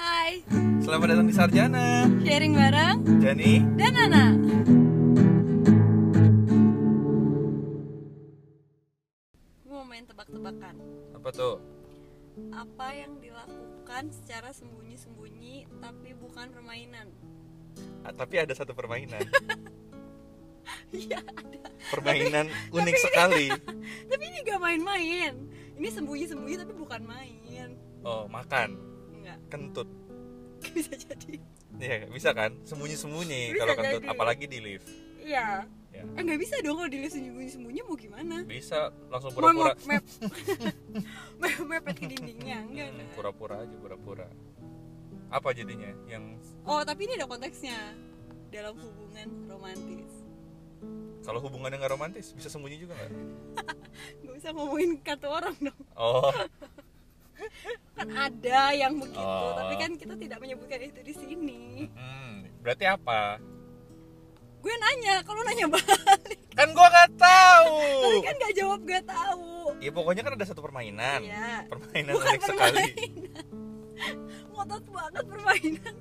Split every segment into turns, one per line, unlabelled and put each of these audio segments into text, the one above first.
Hai,
Selamat datang di Sarjana.
sharing bareng
Jani,
dan Nana. Gue mau main tebak-tebakan.
apa tuh?
Apa yang dilakukan secara sembunyi-sembunyi tapi bukan permainan?
Ah, tapi ada satu permainan.
Iya ada.
Permainan unik sekali.
Tapi ini gak main-main. Ini sembunyi-sembunyi tapi bukan main.
Oh, makan
Enggak,
kentut.
bisa jadi.
Iya, bisa kan? Sembunyi-sembunyi
Bisa
kalau kentut,
jadi.
apalagi di lift.
Iya.
Ya.
Eh nggak bisa dong kalau dilihat sembunyi-sembunyi mau gimana?
Bisa langsung
Mau mau
pura-pura.
mep mep- mepet ke dindingnya enggak
Hmm,
kan?
Pura-pura aja, pura-pura. Apa jadinya? Yang
Oh, tapi ini ada konteksnya. Dalam hubungan romantis.
kalau hubungannya nggak romantis, bisa sembunyi juga nggak?
Gak usah ngomongin kartu orang dong.
Oh,
Kan ada yang begitu,
Oh.
tapi kan kita tidak menyebutkan itu di sini.
hmm, berarti apa?
Gue nanya, kalau nanya balik.
Kan gua nggak tahu.
Tapi kan gak jawab gak tahu.
Ya pokoknya kan ada satu permainan.
Iya.
Permainan
Bukan
unik sekali.
permainan. Ngotot banget permainan.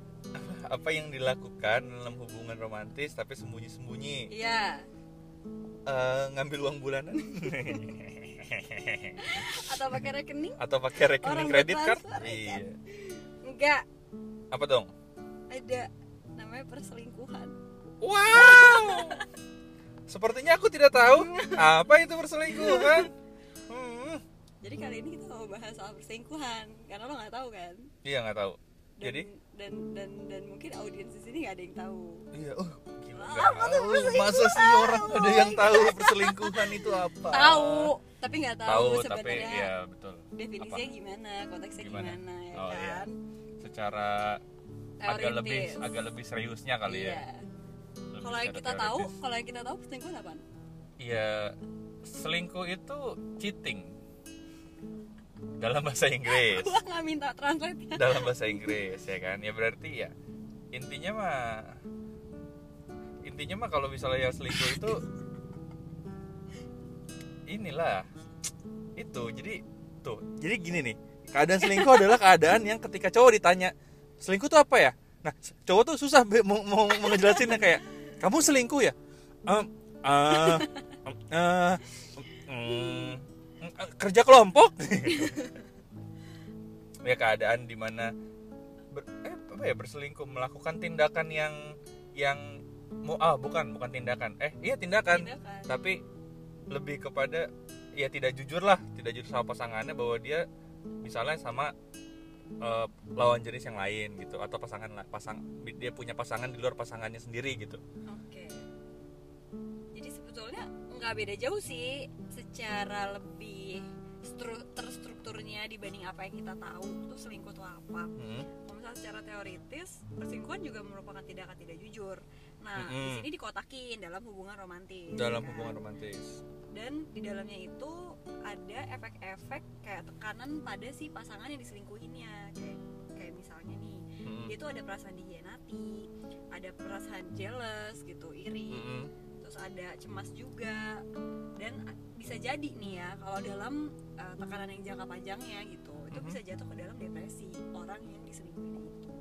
Apa yang dilakukan dalam hubungan romantis tapi sembunyi-sembunyi?
Iya.
Eh, ngambil uang bulanan
Atau pakai rekening?
atau pakai rekening
Orang
kredit kan?
bertransfer,
Iya.
kan? Enggak.
Apa dong?
Ada namanya perselingkuhan.
Wow. Sepertinya aku tidak tahu apa itu perselingkuhan. Hmm.
Jadi kali ini kita mau bahas soal perselingkuhan karena lo nggak tahu kan.
Iya nggak tahu.
Dan,
Jadi
dan dan dan mungkin audiens di sini nggak ada yang tahu.
iya. Oh, gila,
Apa
nggak
tuh
tahu.
perselingkuhan?
Masa sih orang
Oh
ada
my
yang tahu perselingkuhan itu apa?
Tahu, tapi nggak tahu,
Oh. Tahu tapi
sebenarnya
ya betul.
definisinya gimana, konteksnya
Gimana?
gimana, ya
Oh, iya.
kan?
Secara agak lebih
Teoritis.
agak lebih seriusnya kali
iya.
ya. Lebih
Kalau yang
secara
kita tahu,
teoritis.
kalau yang kita tahu perselingkuhan apa?
ya selingkuh itu cheating dalam bahasa Inggris
Gua nggak minta translate ya.
dalam bahasa Inggris ya kan ya berarti ya intinya mah intinya mah kalau misalnya selingkuh itu inilah itu jadi tuh jadi gini nih keadaan selingkuh adalah keadaan yang ketika cowok ditanya selingkuh tuh apa ya nah s- cowok tuh susah be- mau mau mau ngejelasinnya kayak kamu selingkuh ya Em, eh, em, eh, em, em, eh, kerja kelompok ya keadaan dimana ber, eh, apa ya berselingkuh melakukan tindakan yang yang mau ah bukan bukan tindakan eh iya tindakan
Tindakan.
tapi lebih kepada ya tidak jujur lah tidak jujur sama pasangannya bahwa dia misalnya sama eh, lawan jenis yang lain gitu atau pasangan la- pasang dia punya pasangan di luar pasangannya sendiri gitu
Oke. Jadi sebetulnya nggak beda jauh sih secara lebih stru- terstrukturnya dibanding apa yang kita tahu tuh selingkuh tuh apa.
Hmm.
Kalau misalnya secara teoritis perselingkuhan juga merupakan tindakan tidak jujur. Nah di
Mm-mm.
sini dikotakin dalam hubungan romantis.
dalam
kan?
hubungan romantis
Dan di dalamnya itu ada efek-efek kayak tekanan pada si pasangan yang diselingkuhinnya kayak kayak misalnya nih
Hmm.
dia tuh ada perasaan dihianati, ada perasaan jealous gitu, iri
Hmm.
terus ada cemas juga dan a- bisa jadi nih ya kalau dalam uh, tekanan yang jangka panjangnya gitu itu
Mhm.
bisa jatuh ke dalam depresi orang yang diselingkuhin itu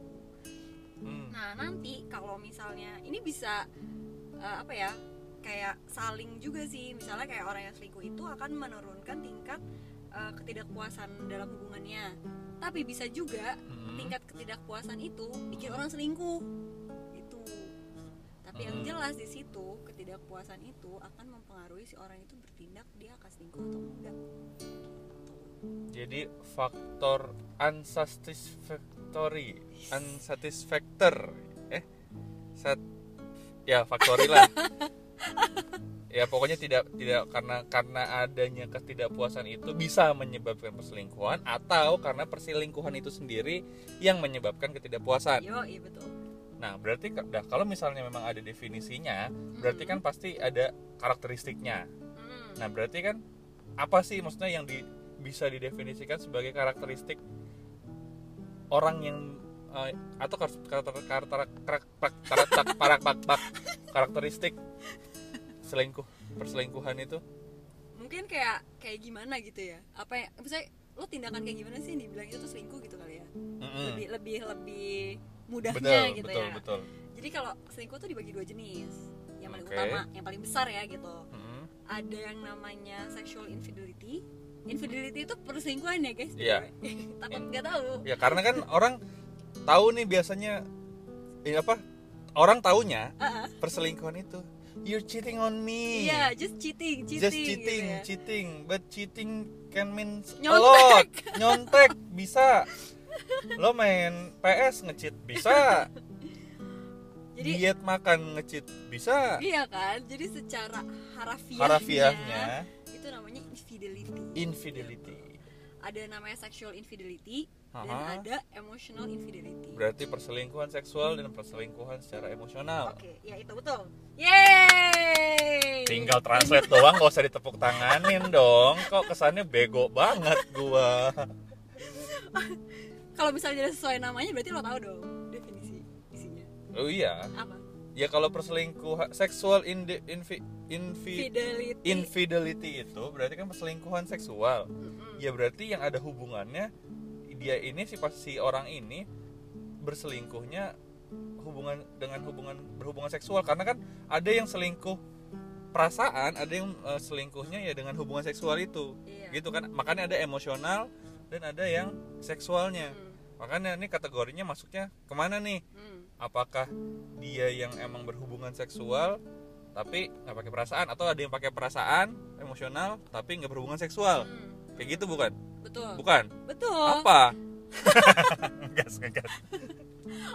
Hmm.
nah nanti kalau misalnya ini bisa uh, apa ya kayak saling juga sih misalnya kayak orang yang selingkuh itu akan menurunkan tingkat uh, ketidakpuasan dalam hubungannya tapi bisa juga
Hmm.
tingkat ketidakpuasan itu bikin orang selingkuh gitu tapi yang
Hmm.
jelas di situ ketidakpuasan itu akan mempengaruhi si orang itu bertindak dia akan selingkuh atau enggak
jadi faktor unsatisfactory unsatisfactor eh sat ya faktori lah ya pokoknya tidak tidak karena karena adanya ketidakpuasan itu bisa menyebabkan perselingkuhan atau karena perselingkuhan itu sendiri yang menyebabkan ketidakpuasan
yo iya betul
nah berarti ke- dah, kalau misalnya memang ada definisinya
Hmm.
berarti kan pasti ada karakteristiknya
Hmm.
Nah, berarti kan apa sih maksudnya yang di- bisa didefinisikan sebagai karakteristik orang yang eh, atau kar- karakter- karakter- karak- prak- karakter- parak- pak- pak- karakteristik selingkuh perselingkuhan itu
mungkin kayak kayak gimana gitu ya apa ya misalnya lo tindakan kayak gimana sih yang dibilang itu tuh selingkuh gitu kali ya
Mm, Mm-mm.
lebih lebih lebih mudahnya
betul
gitu
betul
ya
betul
jadi kalau selingkuh tuh dibagi dua jenis yang paling
Oke.
utama yang paling besar ya gitu
Mm-mm.
ada yang namanya sexual infidelity infidelity itu perselingkuhan ya guys
Iya.
takut nggak tahu
ya karena kan orang tahu nih biasanya ini apa orang taunya
Ah, ah.
perselingkuhan itu you're cheating on me
iya just cheating cheating
just
gitu
cheating
ya.
cheating but cheating can mean a
Nyontek.
lot nyontek bisa lo main PS ngecheat bisa
jadi
diet makan ngecheat bisa
iya kan jadi secara harafiahnya,
harafiahnya
itu namanya infidelity
infidelity
ada namanya sexual infidelity dan
Aha.
ada emotional infidelity
berarti perselingkuhan seksual dan perselingkuhan secara emosional
Oke, ya itu betul. Yeay.
tinggal translate doang gak usah ditepuk tanganin dong kok kesannya bego banget gua
Kalau misalnya tidak sesuai namanya berarti lo tahu dong definisi isinya.
oh iya
Apa?
ya kalau perselingkuhan seksual indi- infi- infi-
Fidelity.
infidelity itu berarti kan perselingkuhan seksual
Mm-mm.
ya berarti yang ada hubungannya dia ini si pas- si orang ini berselingkuhnya hubungan dengan hubungan berhubungan seksual karena kan ada yang selingkuh perasaan ada yang eh, selingkuhnya ya dengan hubungan seksual itu
Iya.
gitu kan makanya ada emosional dan ada yang seksualnya
Mm,
makanya ini kategorinya masuknya kemana nih
mm.
apakah dia yang emang berhubungan seksual tapi nggak pakai perasaan atau ada yang pakai perasaan emosional tapi nggak berhubungan seksual
Mm.
kayak gitu bukan
Betul.
bukan
Betul.
apa ngegas ngegas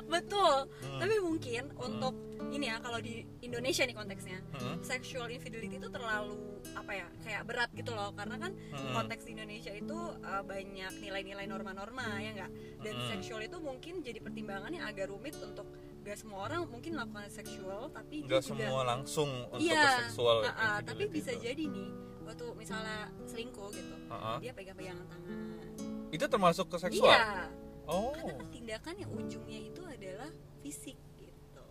Betul.
Hmm.
Tapi mungkin untuk ini ya kalau di Indonesia nih konteksnya
Hmm,
sexual infidelity itu terlalu apa ya kayak berat gitu loh karena kan
Hmm.
konteks di Indonesia itu uh, banyak nilai-nilai norma-norma ya enggak dan
Hmm.
seksual itu mungkin jadi pertimbangan yang agak rumit untuk gak semua orang mungkin melakukan seksual tapi dia
nggak
juga
semua langsung untuk ya,
iya
seksual
ha-ha, tapi bisa jadi nih waktu misalnya selingkuh gitu dia pegang-pegangan tangan
Uh-uh. itu termasuk ke seksual
iya
oh
karena kan tindakan yang ujungnya itu adalah fisik gitu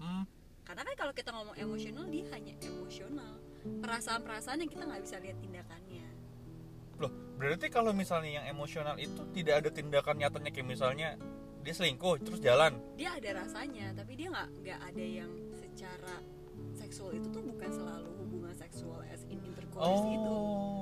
Hmm,
karena kan kalau kita ngomong emosional dia hanya emosional perasaan-perasaan yang kita nggak bisa lihat tindakannya
loh berarti kalau misalnya yang emosional itu tidak ada tindakan nyatanya kayak misalnya dia selingkuh terus jalan
dia ada rasanya tapi dia nggak nggak ada yang secara seksual itu tuh bukan selalu hubungan seksual as in intercourse itu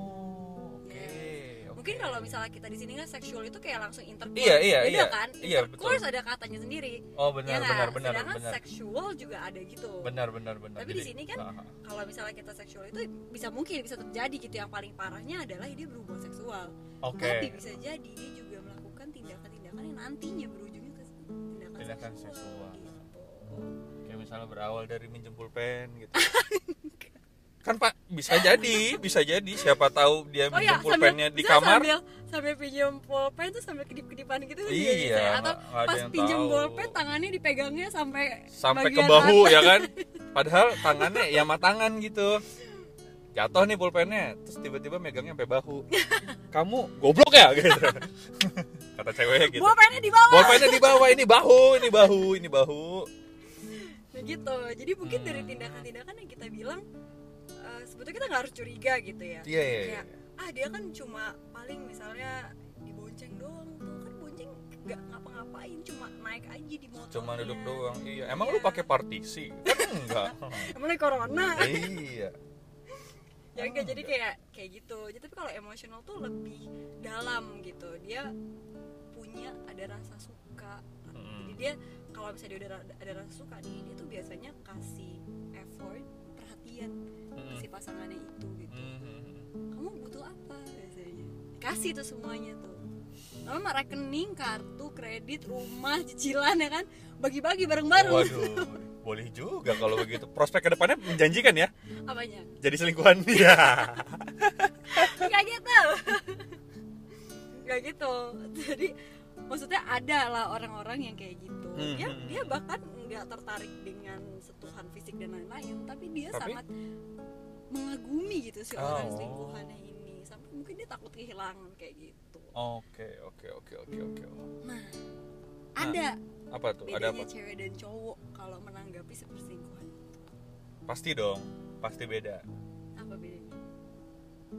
Oh, oke.
Yes.
Oh, oke.
mungkin kalau misalnya kita di sini kan seksual itu kayak langsung intercourse
Iya, iya,
beda
iya.
kan
Iya,
intercourse ada katanya sendiri
Oh, benar
Iya nggak?
benar benar
sedangkan
benar.
seksual juga ada gitu
Benar benar benar.
Tapi di sini kan
ah,
kalau misalnya kita seksual itu bisa mungkin bisa terjadi gitu yang paling parahnya adalah dia berhubungan seksual
Oke.
tapi bisa jadi dia juga melakukan tindakan-tindakan yang nantinya berujungnya ke tindakan,
Tindakan seksual.
gitu.
Kayak misalnya berawal dari minjem pulpen gitu. kan Pak, bisa jadi, bisa jadi siapa tahu dia
Oh
minjem
ya,
pulpennya
sambil,
di
misalnya
kamar.
sambil sambil pinjam pulpen tuh sambil kedip-kedipan gitu kan
Iya,
bisa ya. atau
nggak- nggak ada
pas
yang
pinjam
tahu.
pulpen tangannya dipegangnya sampai
sampai ke
bagian
bahu
atas.
ya kan. Padahal tangannya ya sama tangan gitu. Jatuh nih pulpennya, terus tiba-tiba megangnya sampai bahu. Kamu goblok ya gitu. Kata ceweknya gitu.
Pulpennya di bawah.
Bolpennya di bawah ini bahu, ini bahu, ini bahu.
Nah, gitu. Jadi mungkin dari
Hmm.
tindakan-tindakan yang kita bilang eh, sebetulnya kita nggak harus curiga gitu ya.
Iya iya. iya.
Kayak ah dia kan cuma paling misalnya dibonceng doang tuh kan bonceng nggak ngapa-ngapain cuma naik aja di motor.
Cuma duduk doang. Iya. Emang lu pakai partisi? Kan enggak.
Emang lagi corona.
iya.
ya enggak jadi kayak kayak gitu jadi tapi kalau emosional tuh lebih dalam gitu dia punya ada rasa suka
Mm.
jadi dia kalau misalnya dia ada, ada rasa suka nih dia tuh biasanya kasih effort perhatian ke
Hmm.
si pasangannya itu gitu kamu butuh apa biasanya kasih tuh semuanya tuh nama rekening kartu kredit rumah cicilan ya kan bagi-bagi bareng-bareng
Waduh. Boleh juga kalau begitu. Prospek kedepannya menjanjikan ya.
apanya
Jadi selingkuhan Iya. dia.
Gak gitu Gak gitu Jadi maksudnya ada lah orang-orang yang kayak gitu
Hmm.
Dia, dia bahkan nggak tertarik dengan sentuhan fisik dan lain-lain Tapi dia
Tapi?
sangat mengagumi gitu si orang
Oh.
selingkuhannya ini Sampai mungkin dia takut kehilangan kayak gitu
Oke, oke, oke, oke, oke.
Nah ada
Apa tuh? Ada
bedanya
apa?
cewek dan cowok kalau menanggapi seperselingkuhan
Pasti dong. Pasti beda.
apa bedanya?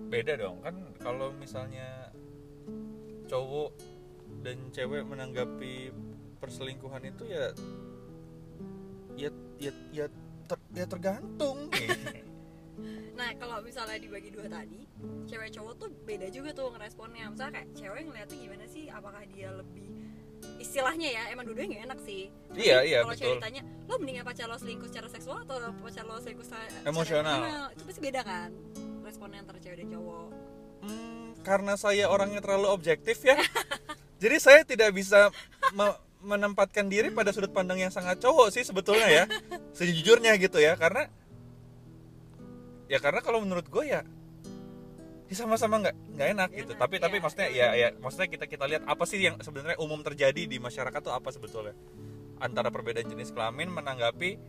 Beda dong. Kan kalau misalnya cowok dan cewek menanggapi perselingkuhan itu ya ya ya ya, ter- ya tergantung
Nah kalau misalnya dibagi dua tadi Cewek cowok tuh beda juga tuh ngeresponnya Misalnya kayak cewek ngeliatnya gimana sih Apakah dia lebih Istilahnya ya emang dua-duanya gak enak sih Tapi
Iya, iya,
Kalau
betul.
cewek ditanya Lo mendingan pacar lo selingkuh secara seksual Atau pacar lo selingkuh secara secara
Emosional.
Itu pasti beda kan Responnya antara cewek dan cowok
Hmm, karena saya orangnya terlalu objektif ya jadi saya tidak bisa me- menempatkan diri pada sudut pandang yang sangat cowok sih sebetulnya ya sejujurnya gitu ya karena ya karena kalau menurut gue ya ya sama-sama nggak nggak enak
Nggak
gitu
enak,
tapi tapi
ya.
maksudnya ya ya maksudnya kita kita lihat apa sih yang sebenarnya umum terjadi di masyarakat tuh apa sebetulnya antara perbedaan jenis kelamin menanggapi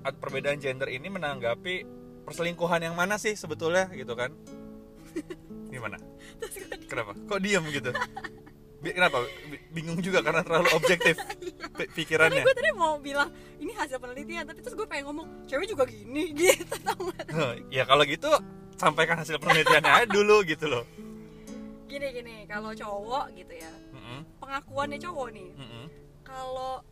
at- perbedaan gender ini menanggapi perselingkuhan yang mana sih sebetulnya gitu kan gimana kenapa kok diam gitu Bi- kenapa Bi- bingung juga karena terlalu objektif pi-
Tapi
pikirannya
gue tadi mau bilang Ini hasil penelitian Tapi terus gue pengen ngomong Cewek juga gini gitu tau nggak?
ya kalau gitu sampaikan hasil penelitiannya aja dulu gitu loh
Gini-gini Kalau cowok gitu ya
Mm-mm,
Pengakuannya cowok nih
mm-mm.
kalau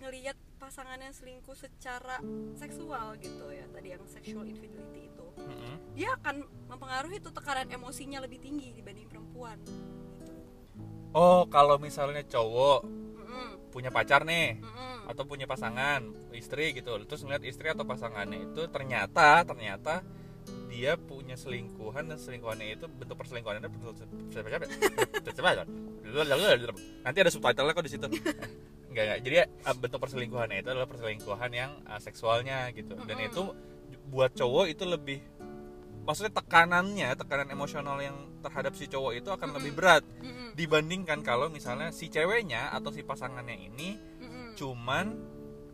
ngelihat pasangannya selingkuh secara seksual gitu ya tadi yang sexual infidelity itu
Mm-mm.
dia akan mempengaruhi tuh tekanan emosinya lebih tinggi dibanding perempuan gitu.
Oh, kalau misalnya cowok
Mm-mm,
punya pacar nih
mm-mm.
atau punya pasangan, istri gitu. Terus ngeliat istri atau pasangannya itu ternyata ternyata dia punya selingkuhan dan selingkuhannya itu bentuk perselingkuhannya itu bentuk nanti ada subtitlenya kok di situ nggak nggak jadi eh, bentuk perselingkuhannya itu adalah perselingkuhan yang eh, seksualnya gitu dan
Mm-mm.
itu buat cowok itu lebih maksudnya tekanannya tekanan emosional yang terhadap si cowok itu akan lebih
Mm-mm.
berat
Mm-mm,
dibandingkan kalau misalnya si ceweknya atau si pasangannya ini
mm-mm.
cuman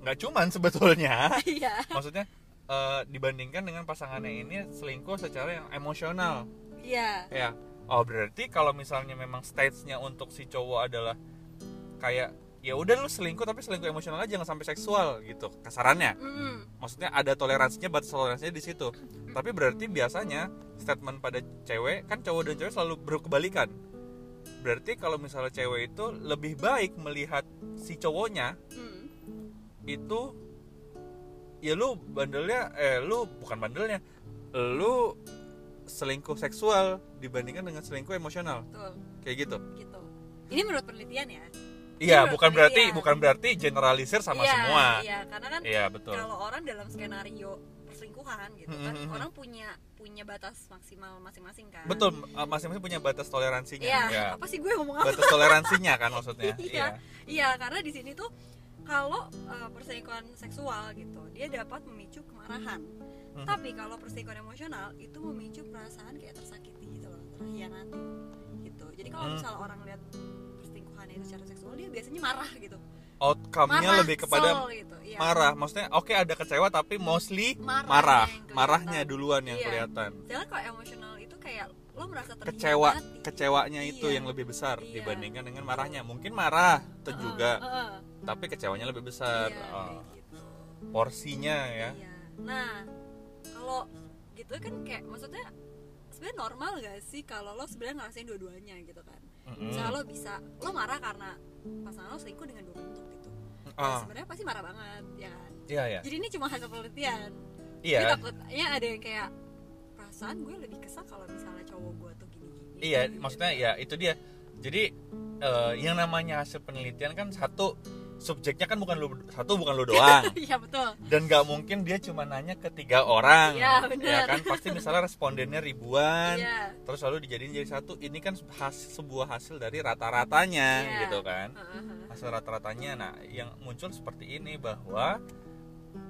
nggak cuman sebetulnya
iya
maksudnya eh, dibandingkan dengan pasangannya ini selingkuh secara yang emosional
iya
ya oh berarti kalau misalnya memang stage-nya untuk si cowok adalah kayak ya udah lu selingkuh tapi selingkuh emosional aja nggak sampai seksual gitu kasarannya
Mm-mm.
maksudnya ada toleransinya batas toleransinya di situ tapi berarti biasanya statement pada cewek kan cowok dan cewek selalu berkebalikan berarti kalau misalnya cewek itu lebih baik melihat si cowoknya
Mm.
itu ya lu bandelnya eh lu bukan bandelnya lu selingkuh seksual dibandingkan dengan selingkuh emosional
betul
kayak gitu
gitu ini menurut penelitian ya
iya
Iya,
bukan
iya.
berarti bukan berarti generalisir sama
Iya,
semua
iya karena kan
iya betul
kalau orang dalam skenario perselingkuhan gitu kan
Mm-mm.
orang punya punya batas maksimal masing-masing kan
betul eh, masing-masing punya batas toleransinya
Iya,
ya.
apa sih gue ngomong apa?
batas toleransinya kan maksudnya
Iya. Iya, karena di sini tuh kalau eh, perselingkuhan seksual gitu, dia dapat memicu kemarahan.
Mhm.
Tapi kalau perselingkuhan emosional itu memicu perasaan kayak tersakiti gitu loh, terhianati gitu. Jadi kalau
Hmm.
misalnya orang lihat perselingkuhannya itu secara seksual, dia biasanya marah gitu.
outcome-nya
marah,
lebih kepada
kesel gitu. Iya.
marah maksudnya oke ada kecewa tapi mostly
Marahnya
marah
yang kelihatan.
marahnya duluan yang
Iya.
kelihatan
Sedangkan kalau emosional itu kayak lo merasa gitu. terhianati.
kecewa kecewanya itu
Iya.
yang lebih besar
Iya.
dibandingkan dengan marahnya mungkin marah itu
Heeh,
juga
heeh.
tapi kecewanya lebih besar
Iya,
Oh,
kayak gitu.
porsinya ya
Iya. Nah, kalau gitu kan kayak maksudnya sebenarnya normal gak sih kalau lo sebenarnya ngerasain dua-duanya gitu kan?
Mm-mm.
Misalnya lo bisa lo marah karena pasangan lo selingkuh dengan dua bentuk gitu. Nah,
Ah,
sebenarnya pasti marah banget ya kan?
iya ya
Jadi ini cuma hasil penelitian.
iya
Tapi takutnya ada yang kayak perasaan gue lebih kesal kalau misalnya cowok gue tuh gini-gini.
iya maksudnya ya itu dia jadi eh, yang namanya hasil penelitian kan satu subjeknya kan bukan lu satu bukan lu doang
Iya betul.
dan nggak mungkin dia cuma nanya ke tiga orang
Iya, benar.
ya kan pasti misalnya respondennya ribuan
Iya.
terus lalu dijadiin jadi satu ini kan has- sebuah hasil dari rata-ratanya
Iya.
gitu kan
Heeh, heeh.
hasil rata-ratanya nah yang muncul seperti ini bahwa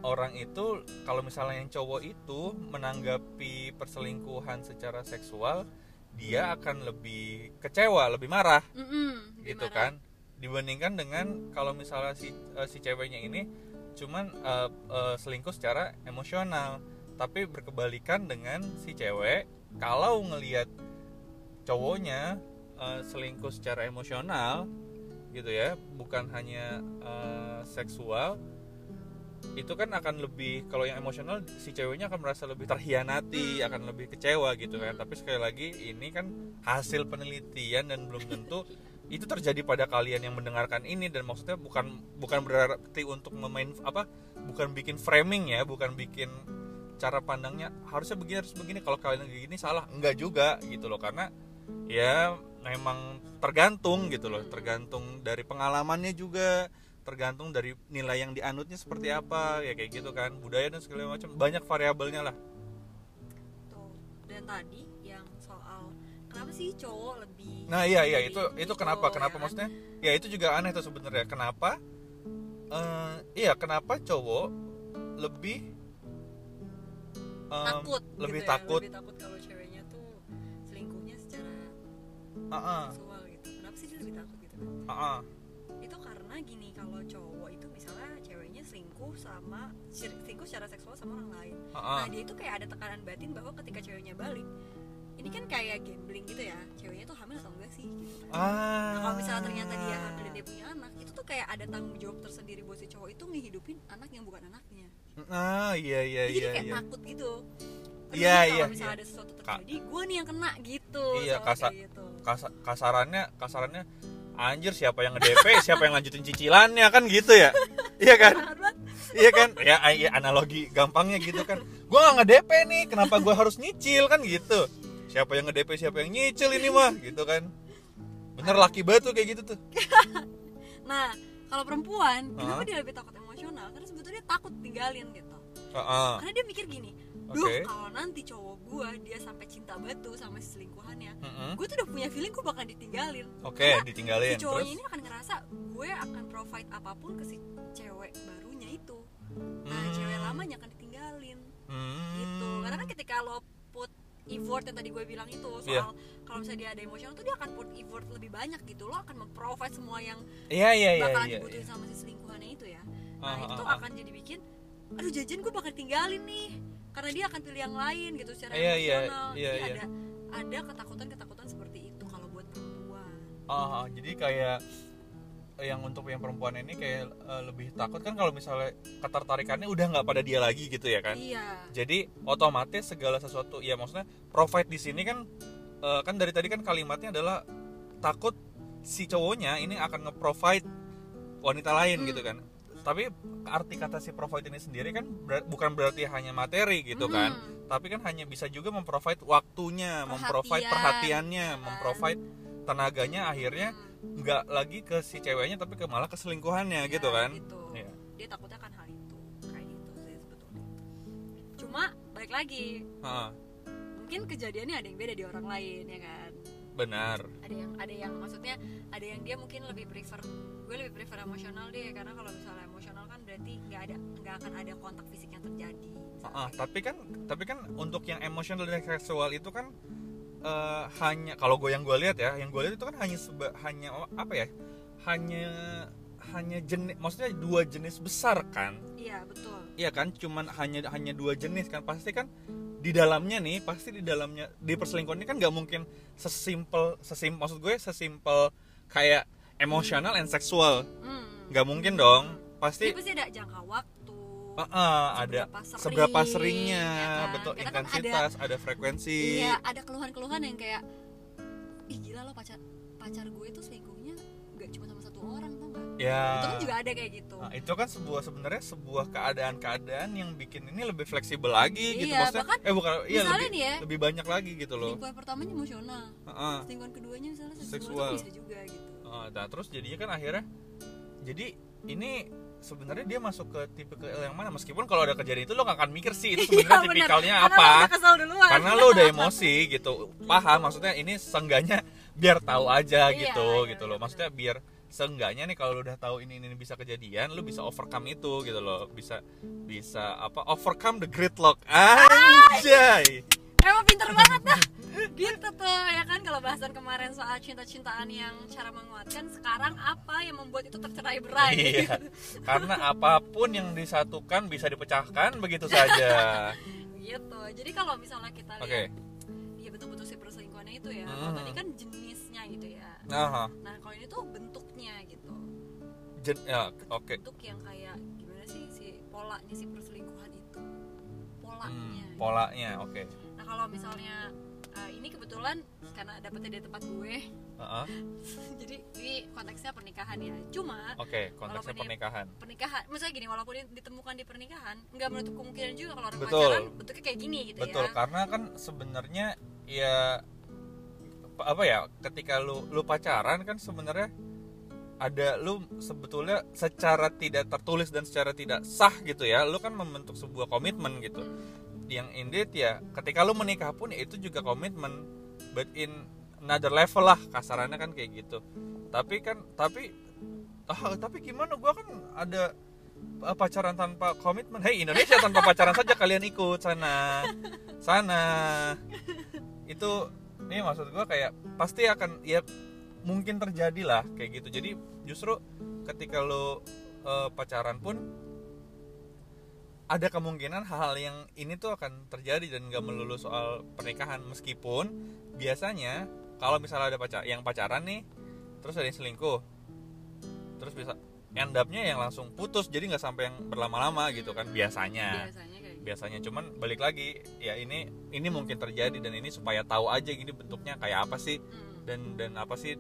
orang itu kalau misalnya yang cowok itu menanggapi perselingkuhan secara seksual dia akan lebih kecewa lebih marah
Mm-mm,
gitu
dimarah.
kan dibandingkan dengan kalau misalnya si eh, si ceweknya ini cuman eh, eh, selingkuh secara emosional tapi berkebalikan dengan si cewek kalau ngelihat cowoknya eh, selingkuh secara emosional gitu ya bukan hanya eh, seksual itu kan akan lebih kalau yang emosional si ceweknya akan merasa lebih terhianati
Hmm.
akan lebih kecewa gitu kan
Hmm.
tapi sekali lagi ini kan hasil penelitian dan belum tentu itu terjadi pada kalian yang mendengarkan ini dan maksudnya bukan bukan berarti untuk memain apa bukan bikin framing ya bukan bikin cara pandangnya harusnya begini harus begini kalau kalian begini salah enggak juga gitu loh karena ya memang tergantung gitu loh tergantung dari pengalamannya juga tergantung dari nilai yang dianutnya seperti apa ya kayak gitu kan budaya dan segala macam banyak variabelnya lah
Tuh. Dan tadi yang soal kenapa sih cowok lebih
Nah iya iya
lebih
itu
ini
itu kenapa
cowok,
kenapa
ya kan?
maksudnya? Ya itu juga aneh tuh sebenarnya. Kenapa? eh iya kenapa cowok lebih em,
takut
lebih
gitu ya,
takut
lebih takut kalau ceweknya tuh selingkuhnya secara
Ah, ah,
seksual gitu kenapa sih dia lebih takut gitu kan
ah, ah.
itu karena gini kalau cowok itu misalnya ceweknya selingkuh sama selingkuh secara seksual sama orang lain
ah, ah.
nah dia itu kayak ada tekanan batin bahwa ketika ceweknya balik ini kan kayak gambling gitu ya ceweknya tuh hamil atau enggak sih gitu
Ah.
kan. Nah, kalau misalnya ternyata dia hamil dan dia punya anak itu tuh kayak ada tanggung jawab tersendiri buat si cowok itu ngehidupin anak yang bukan anaknya
Ah iya iya
Dia jadi
iya
kayak
iya.
takut gitu Aduh,
Iya,
kalau
iya,
misalnya
iya.
ada sesuatu
Ka-
terjadi gue nih yang kena gitu
Iya,
sama
kasa-
kayak gitu.
Kasa- kasarannya kasarannya anjir siapa yang nge-DP, siapa yang lanjutin cicilannya kan gitu ya. Iya kan?
Parah banget.
Iya kan? Ya, iya, analogi gampangnya gitu kan. Gua nggak ngedp nih, kenapa gua harus nyicil kan gitu. Siapa yang ngedp siapa yang nyicil ini mah gitu kan. Bener laki banget tuh kayak gitu tuh.
nah kalau perempuan kenapa
Hah?
dia lebih takut emosional karena sebetulnya dia takut tinggalin gitu
Heeh.
karena dia mikir gini duh
Ah. Oke.
kalau nanti cowok gue dia sampai cinta batu sama si selingkuhannya
Mm-mm.
gue tuh udah punya feeling gue bakal ditinggalin
Oke, ditinggalin
si cowoknya
terus.
ini akan ngerasa gue akan provide apapun ke si cewek barunya itu nah
Hmm.
cewek lamanya akan ditinggalin
Hmm.
gitu karena kan ketika lo put effort yang tadi gue bilang itu soal
Iya.
kalau misalnya dia ada emosional tuh dia akan put effort lebih banyak gitu lo akan memprovide semua yang
Iya iya iya
bakalan
iya.
dibutuhin
iya.
sama si selingkuhannya itu ya
Ah,
nah itu
ah,
tuh
ah.
akan jadi bikin aduh jajan gue bakal tinggalin nih karena dia akan pilih yang lain gitu secara
Iya, iya,
emosional
iya,
Jadi
iya.
ada ada ketakutan ketakutan seperti itu kalau buat perempuan
Ah, ah, jadi kayak yang untuk yang perempuan ini kayak eh, lebih takut kan kalau misalnya ketertarikannya udah nggak pada dia lagi gitu ya kan.
iya
Jadi otomatis segala sesuatu ya maksudnya provide di sini kan eh, kan dari tadi kan kalimatnya adalah takut si cowoknya ini akan nge-provide wanita lain
Hmm.
gitu kan. Tapi arti kata si provide ini sendiri kan ber- bukan berarti hanya materi gitu kan.
Mm.
Tapi kan hanya bisa juga memprovide waktunya, memprovide
Perhatian,
perhatiannya,
kan?
memprovide tenaganya akhirnya
Mm.
nggak lagi ke si ceweknya tapi ke malah ke selingkuhannya gitu
Ya,
kan.
gitu.
Iya.
dia takutnya kan hal itu kayak gitu sih sebetulnya cuma balik lagi
Heeh,
mungkin kejadiannya ada yang beda di orang lain ya kan
benar.
ada yang ada yang maksudnya ada yang dia mungkin lebih prefer gue lebih prefer emosional deh karena kalau misalnya emosional kan berarti nggak ada nggak akan ada kontak fisik yang terjadi
Ah, tapi kan tapi kan untuk yang emosional dan seksual itu kan eh, hanya kalau gue yang gue lihat ya, yang gue lihat itu kan hanya seba, hanya apa ya? Hanya hanya jenis maksudnya dua jenis besar kan?
iya betul
Iya kan? Cuman hanya hanya dua jenis kan pasti kan di dalamnya nih pasti di dalamnya di perselingkuhan ini kan nggak mungkin sesimpel sesim maksud gue sesimpel kayak emosional and seksual
Hmm.
nggak mungkin dong
Jadi
pasti
pasti ada jangka waktu
eh, eh, ada
seberapa sering,
seberapa seringnya
ya kan?
betul
Karena kan ada-
intensitas ada, frekuensi
iya ada keluhan-keluhan yang kayak ih gila lo pacar pacar gue itu selingkuhnya nggak cuma sama satu orang tuh nggak
ya
itu kan juga ada kayak gitu
Nah, itu kan sebuah sebenarnya sebuah keadaan-keadaan yang bikin ini lebih fleksibel lagi gitu
Iya,
maksudnya
bahkan
eh bukan iya
misalnya
lebih,
nih ya.
lebih banyak lagi gitu loh
selingkuhan pertamanya emosional
Heeh.
selingkuhan keduanya misalnya seksual,
Ah. Seksual.
Itu bisa juga gitu
Heeh, nah terus jadinya kan akhirnya jadi ini sebenarnya dia masuk ke tipe ke yang mana meskipun kalau ada kejadian itu lo gak akan mikir sih itu
Iya,
sebenarnya
bener.
tipikalnya
Karena
apa
lo udah kesel duluan.
karena lo udah emosi gitu paham maksudnya ini sengganya biar tahu aja
Iya,
gitu
iya,
gitu loh
iya,
maksudnya biar sengganya nih kalau lo udah tahu ini ini ini bisa kejadian lo bisa overcome itu gitu loh bisa bisa apa overcome the gridlock anjay
emang pinter banget dah gitu tuh ya kan kalau bahasan kemarin soal cinta-cintaan yang cara menguatkan sekarang apa yang membuat itu tercerai berai
iya karena apapun yang disatukan bisa dipecahkan begitu saja
gitu jadi kalau misalnya kita
oke
lihat ya betul-betul si perselingkuhannya itu ya kalau
Hmm.
tadi kan jenisnya gitu ya
nah
nah kalau ini tuh bentuknya gitu
jen- ya, oke
bentuk yang kayak gimana sih si polanya si perselingkuhan itu polanya
Hmm, polanya oke
Nah kalau misalnya eh, ini kebetulan karena dapetnya dari tempat gue,
Heeh.
jadi ini konteksnya pernikahan ya cuma
Oke, konteksnya
Walaupun dia-
pernikahan.
pernikahan maksudnya gini walaupun ini ditemukan di pernikahan nggak menutup kemungkinan juga kalau orang
Betul.
pacaran bentuknya kayak gini gitu
Betul,
ya
karena kan sebenarnya ya apa- apa ya, ketika lu lu pacaran kan sebenarnya ada lu sebetulnya secara tidak tertulis dan secara tidak sah gitu ya, lu kan membentuk sebuah komitmen gitu. Yang indeed ya, ketika lu menikah pun ya itu juga komitmen, but in another level lah kasarannya kan kayak gitu. Tapi kan tapi ah, tapi gimana gua kan ada eh, pacaran tanpa komitmen. Hei Indonesia tanpa pacaran saja kalian ikut sana sana itu ini maksud gua kayak pasti akan ya mungkin terjadi lah kayak gitu jadi justru ketika lo eh, pacaran pun ada kemungkinan hal-hal yang ini tuh akan terjadi dan gak melulu soal pernikahan meskipun biasanya kalau misalnya ada pacar yang pacaran nih terus ada yang selingkuh terus bisa end up-nya yang langsung putus jadi nggak sampai yang berlama-lama gitu kan biasanya
biasanya kayak gitu
biasanya cuman balik lagi ya ini ini mungkin terjadi dan ini supaya tahu aja gini bentuknya kayak apa sih
Hmm.
dan dan apa sih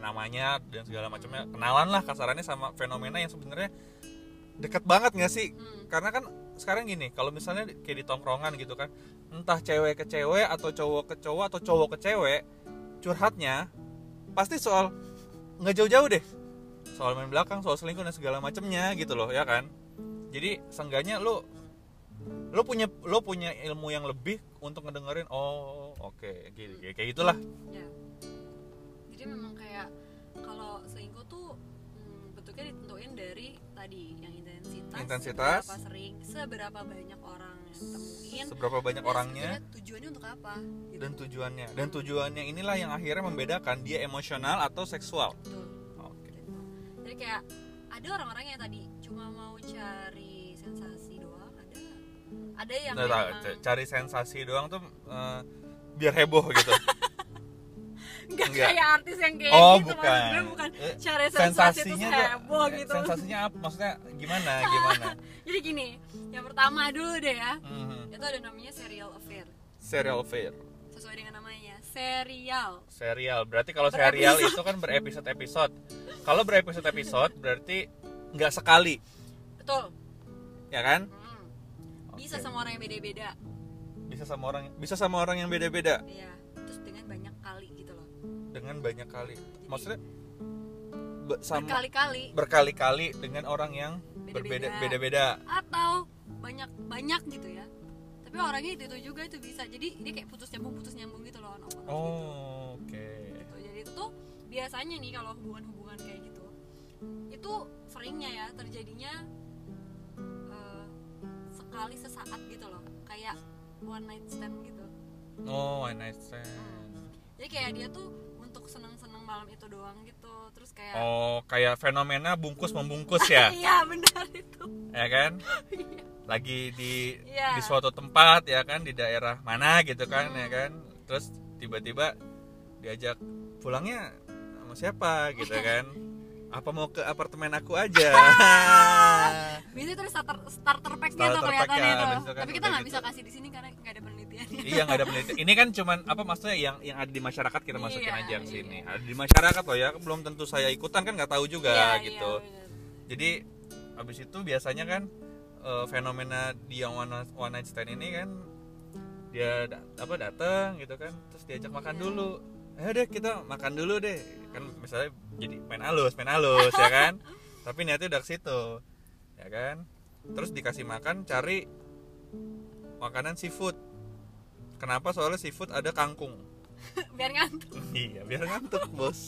namanya dan segala macamnya kenalan lah kasarannya sama fenomena yang sebenarnya deket banget nggak sih
Hmm.
karena kan sekarang gini kalau misalnya kayak di tongkrongan gitu kan entah cewek ke cewek atau cowok ke cowok atau cowok ke cewek curhatnya pasti soal nggak jauh-jauh deh soal main belakang soal selingkuh dan segala macemnya gitu loh ya kan jadi seenggaknya lo lo punya lo punya ilmu yang lebih untuk ngedengerin oh oke gitu kayak kayak gitulah
Ya. Jadi memang kayak kalau selingkuh tuh hmm, bentuknya ditentuin dari tadi yang intensitas,
Intensitas.
seberapa sering, seberapa banyak orang yang temuin,
seberapa banyak
dan
orangnya
sebenarnya tujuannya untuk apa? Gitu.
dan tujuannya dan tujuannya inilah yang akhirnya membedakan dia emosional atau seksual
Betul.
oke
Gitu. Jadi kayak ada orang-orang yang tadi cuma mau cari sensasi doang, ada ada yang
Nggak tahu,
memang-
c- cari sensasi doang tuh eh, biar heboh gitu
Nggak
Nggak.
kayak artis yang kayak
Oh,
gitu,
bukan.
maksud gue bukan
Eh,
cari sensasi itu
sensasinya tuh-
heboh
eh,
gitu.
sensasinya apa maksudnya gimana gimana
Jadi gini, yang pertama dulu deh ya.
Mhm.
itu ada namanya serial affair
serial fair
sesuai dengan namanya serial
serial berarti kalau
Berepisode.
serial itu kan berepisode episode kalau berepisode episode berarti nggak sekali
betul
ya kan
Mm. bisa
Oke.
sama orang yang beda-beda
bisa sama orang bisa sama orang yang beda beda
ya terus dengan banyak kali gitu loh
dengan banyak kali maksudnya be- sama
berkali-kali
berkali-kali dengan orang yang berbeda
Beda-beda.
beda-beda
atau banyak banyak gitu ya tapi orangnya itu itu juga itu bisa jadi dia kayak putus nyambung putus nyambung gitu loh on off, on off
oh oke
gitu. Tuh, jadi itu tuh biasanya nih kalau hubungan-hubungan kayak gitu itu seringnya ya terjadinya eh, sekali sesaat gitu loh kayak one night stand gitu
oh one night stand
jadi kayak dia tuh untuk seneng-seneng malam itu doang gitu terus kayak
oh kayak fenomena bungkus membungkus ya
iya benar itu
ya kan lagi di
Iya. Ah.
di suatu tempat ya kan di daerah mana gitu kan ya kan terus tiba-tiba diajak pulangnya sama siapa gitu
Iya.
kan apa mau ke apartemen aku aja
biasanya terus starter starter packnya
Starter
tuh kelihatannya
pack-nya,
tuh
abis itu kan
tapi kita nggak
udah
bisa
gitu.
kasih di sini karena nggak ada penelitiannya
iya nggak ada penelitian ini kan cuman apa maksudnya yang yang ada di masyarakat kita masukin
Iya,
aja ke
iya.
sini ada di masyarakat loh ya belum tentu saya ikutan kan nggak tahu juga
Iya, iya,
gitu
bener.
jadi habis itu biasanya kan eh, fenomena di yang one, night- one night stand ini kan dia da- apa datang gitu kan terus diajak
Iya.
makan dulu eh deh kita makan dulu deh kan misalnya jadi main halus main halus ya kan tapi niatnya udah ke situ ya kan terus dikasih makan cari makanan seafood kenapa soalnya seafood ada kangkung
biar ngantuk
iya biar ngantuk bos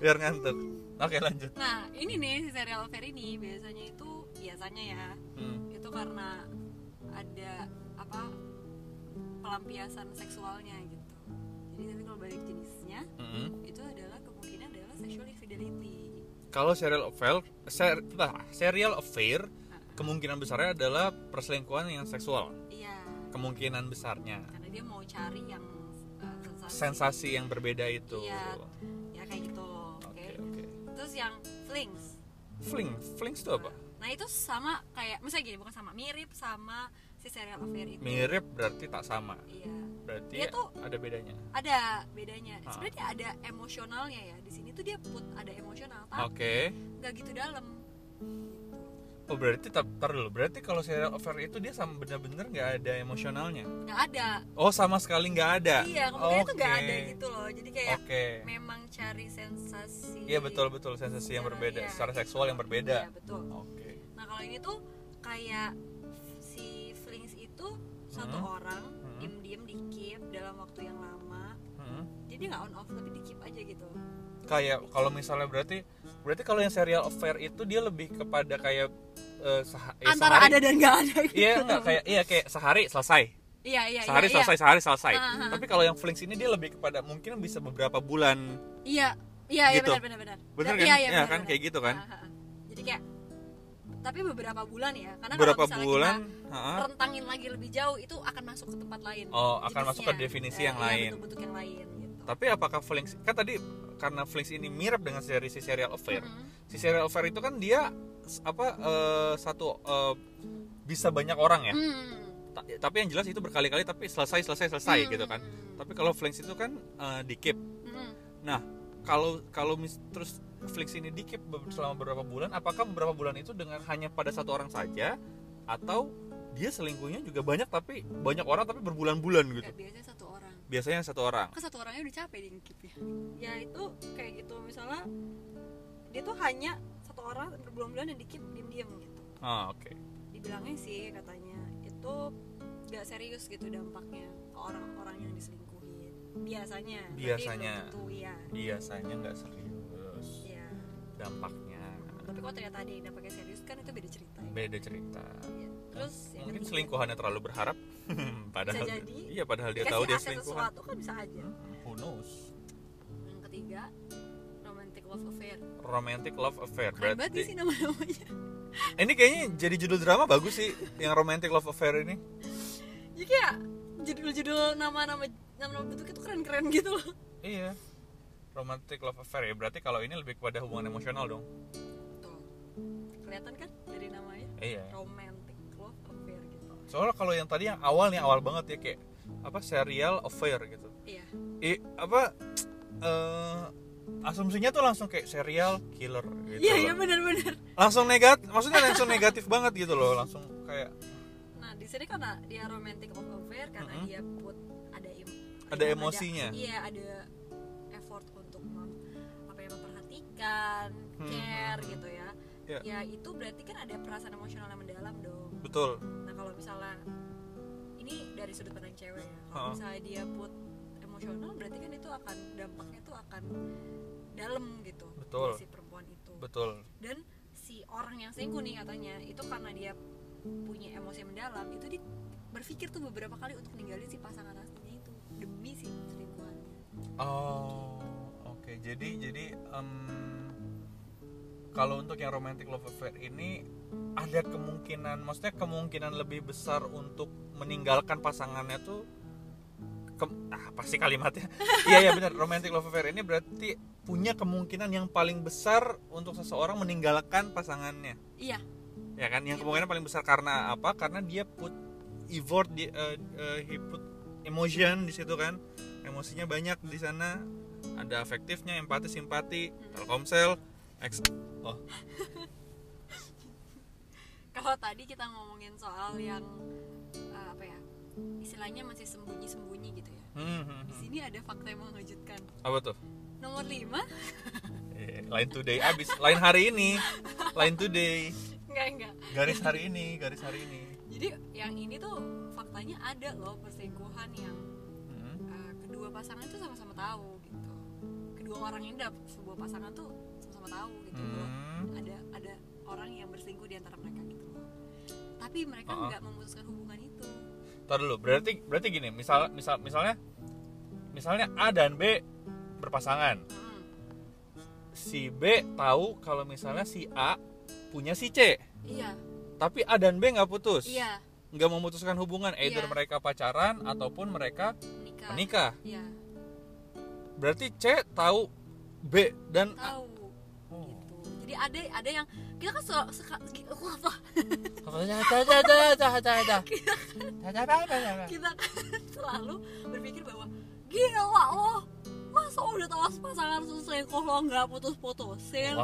biar ngantuk oke lanjut
nah ini nih si serial fair ini biasanya itu biasanya ya
Hmm.
itu karena ada apa pelampiasan seksualnya gitu jadi nanti kalau balik jenisnya
Mm-mm.
itu adalah kemungkinan adalah sexual infidelity
kalau serial affair ser, bah, serial affair
Nah,
kemungkinan besarnya adalah perselingkuhan yang seksual
iya
kemungkinan besarnya
karena dia mau cari yang uh, sensasi,
sensasi yang berbeda itu
Iya. ya kayak gitu oke
oke oke
terus yang nah, flings
fling flings itu apa
nah itu sama kayak misalnya gini bukan sama mirip sama si si serial affair itu
mirip berarti tak sama
iya
berarti
Dia tuh-
ada bedanya
ada bedanya
Ah.
sebenarnya ada emosionalnya ya di sini tuh dia put ada emosional
oke
tapi nggak gitu dalam
oh berarti tar, tar dulu berarti kalau serial affair itu dia sama bener-bener nggak ada emosionalnya
nggak ada
oh sama sekali nggak ada
iya kemudian tuh nggak
Ya. Oke.
ada gitu loh jadi kayak
oke
memang cari sensasi
iya betul betul sensasi yang
Secara-
berbeda
iya.
secara seksual yang
Iya,
berbeda
betul
oke
nah kalau ini tuh kayak si flings itu satu
Hmm.
orang
Hmm.
diem diem dikip dalam waktu yang lama
Hmm.
jadi dia nggak on off tapi dikip aja gitu
kayak kalau misalnya berarti berarti kalau yang serial affair itu dia lebih kepada kayak eh, seha- ya,
antara
sehari-
ada dan nggak ada gitu
iya enggak kayak iya kayak sehari selesai
iya iya
sehari
iya,
selesai sehari selesai
Ah, ah, ah.
tapi kalau yang flings ini dia lebih kepada mungkin bisa beberapa bulan
iya iya iya
Gitu.
benar benar benar
bener kan
iya iya
Iya
benar,
kan
benar.
kayak gitu kan
Ah, ah, ah. jadi kayak tapi beberapa bulan ya karena
beberapa
kalau misalnya
bulan
kita
ha-ha.
rentangin lagi lebih jauh itu akan masuk ke tempat lain
oh akan masuk ke
jenisnya.
definisi
Eh,
yang
iya,
lain
bentuk-bentuk yang lain gitu
tapi apakah flings kan tadi karena flings ini mirip dengan seri si serial affair
Mhm.
si serial affair itu kan dia s- apa eh, satu eh, bisa banyak orang ya
Hmm.
Ta- tapi yang jelas itu berkali-kali tapi selesai selesai selesai
Hmm.
gitu kan tapi kalau flinks itu kan eh, di keep
Hmm.
kalau kalau mis- terus flinks ini di keep be- selama beberapa bulan apakah beberapa bulan itu dengan hanya pada satu orang saja atau dia selingkuhnya juga banyak tapi banyak orang tapi berbulan-bulan gitu
Nggak, biasanya satu orang
biasanya satu orang
kan satu orangnya udah capek diungkit ya ya itu kayak gitu misalnya dia tuh hanya satu orang berbulan-bulan dan dikip diem-diem gitu
ah oke
dibilangnya sih katanya itu nggak serius gitu dampaknya ke orang-orang yang diselingkuhin biasanya tapi belum
Biasanya.
tentu ya
biasanya nggak serius
ya
dampaknya
tapi kalau ternyata ada yang dampaknya serius kan itu beda cerita ya.
beda cerita
Ya. terus yang
mungkin
ketiga,
selingkuhannya terlalu berharap padahal
jadi.
iya padahal dia
dikasih
tahu dia
akses
selingkuhan Hmm,
sesuatu kan bisa aja
who knows
yang ketiga romantic love affair
romantic love affair
keren banget nih
berarti
sih nama-namanya
ini kayaknya jadi judul drama bagus sih yang romantic love affair ini
jadi kayak judul-judul nama-nama nama-nama bentuk itu keren-keren gitu loh
iya romantic love affair ya berarti kalau ini lebih kepada hubungan emosional dong
tuh kelihatan kan dari namanya
iya
romantic love affair gitu
soalnya kalau yang tadi yang awal nih awal banget ya kayak apa serial affair gitu
iya
eh apa eh asumsinya tuh langsung kayak serial killer gitu
iya
loh.
iya benar-benar
langsung negatif maksudnya langsung negatif banget gitu loh langsung kayak
nah di sini karena dia romantic love affair karena
Mm-mm.
dia put ada im-
Ada emosinya.
iya ada effort untuk mem- apa ya memperhatikan
Hmm,
care
hmm,
gitu ya
Iya.
ya itu berarti kan ada perasaan emosional yang mendalam dong
betul
Nah kalau misalnya ini dari sudut pandang cewek ya,
Ha.
kalau misalnya dia put emosional berarti kan itu akan dampaknya tuh akan dalam gitu
Betul.
si perempuan itu.
betul
Dan si orang yang selingkuh nih katanya itu karena dia punya emosi yang mendalam itu dia berpikir tuh beberapa kali untuk ninggalin si pasangan aslinya itu demi si selingkuhannya.
Oh, oke. Jadi jadi em, kalau untuk yang romantic love affair ini ada kemungkinan, maksudnya kemungkinan lebih besar untuk meninggalkan pasangannya tuh ke- ah, pasti kalimatnya. Iya ya benar, romantic love affair ini berarti punya kemungkinan yang paling besar untuk seseorang meninggalkan pasangannya.
Iya.
Ya kan? Yang kemungkinan paling besar karena apa? Karena dia put effort di eh, eh, he put emotion di situ kan emosinya banyak di sana ada afektifnya empati simpati telkomsel X oh
Kalau tadi kita ngomongin soal yang eh, apa ya istilahnya masih sembunyi-sembunyi gitu ya.
hmm, hmm,
Di
hmm.
sini ada fakta yang mengejutkan.
apa tuh
Nomor 5
Eh, lain today abis lain hari ini lain today
Enggak, enggak.
garis hari ini garis hari ini
Jadi yang ini tuh faktanya ada loh perselingkuhan yang
Hmm.
eh, kedua pasangan itu sama-sama tahu gitu. Kedua orang ini dapat sebuah pasangan tuh sama-sama tahu gitu. bahwa
Hmm.
Ada ada orang yang berselingkuh di antara mereka gitu. loh. Tapi mereka
Uh-uh.
nggak memutuskan hubungan itu.
Tar dulu berarti berarti gini misal misal misalnya misalnya A dan B berpasangan
Mm.
si B tahu kalau misalnya si A punya si C
Iya,
tapi A dan B nggak putus
iya,
nggak memutuskan hubungan either
Iya.
mereka pacaran ataupun mereka
menikah.
menikah
Iya,
berarti C tahu B dan A
tahu gitu. Jadi jadi ada ada yang kita kan selalu suka- kita kan-
Oh,
kita kan selalu berpikir bahwa gila lo masa udah tahu pasangan lu selingkuh lo nggak putus-putusin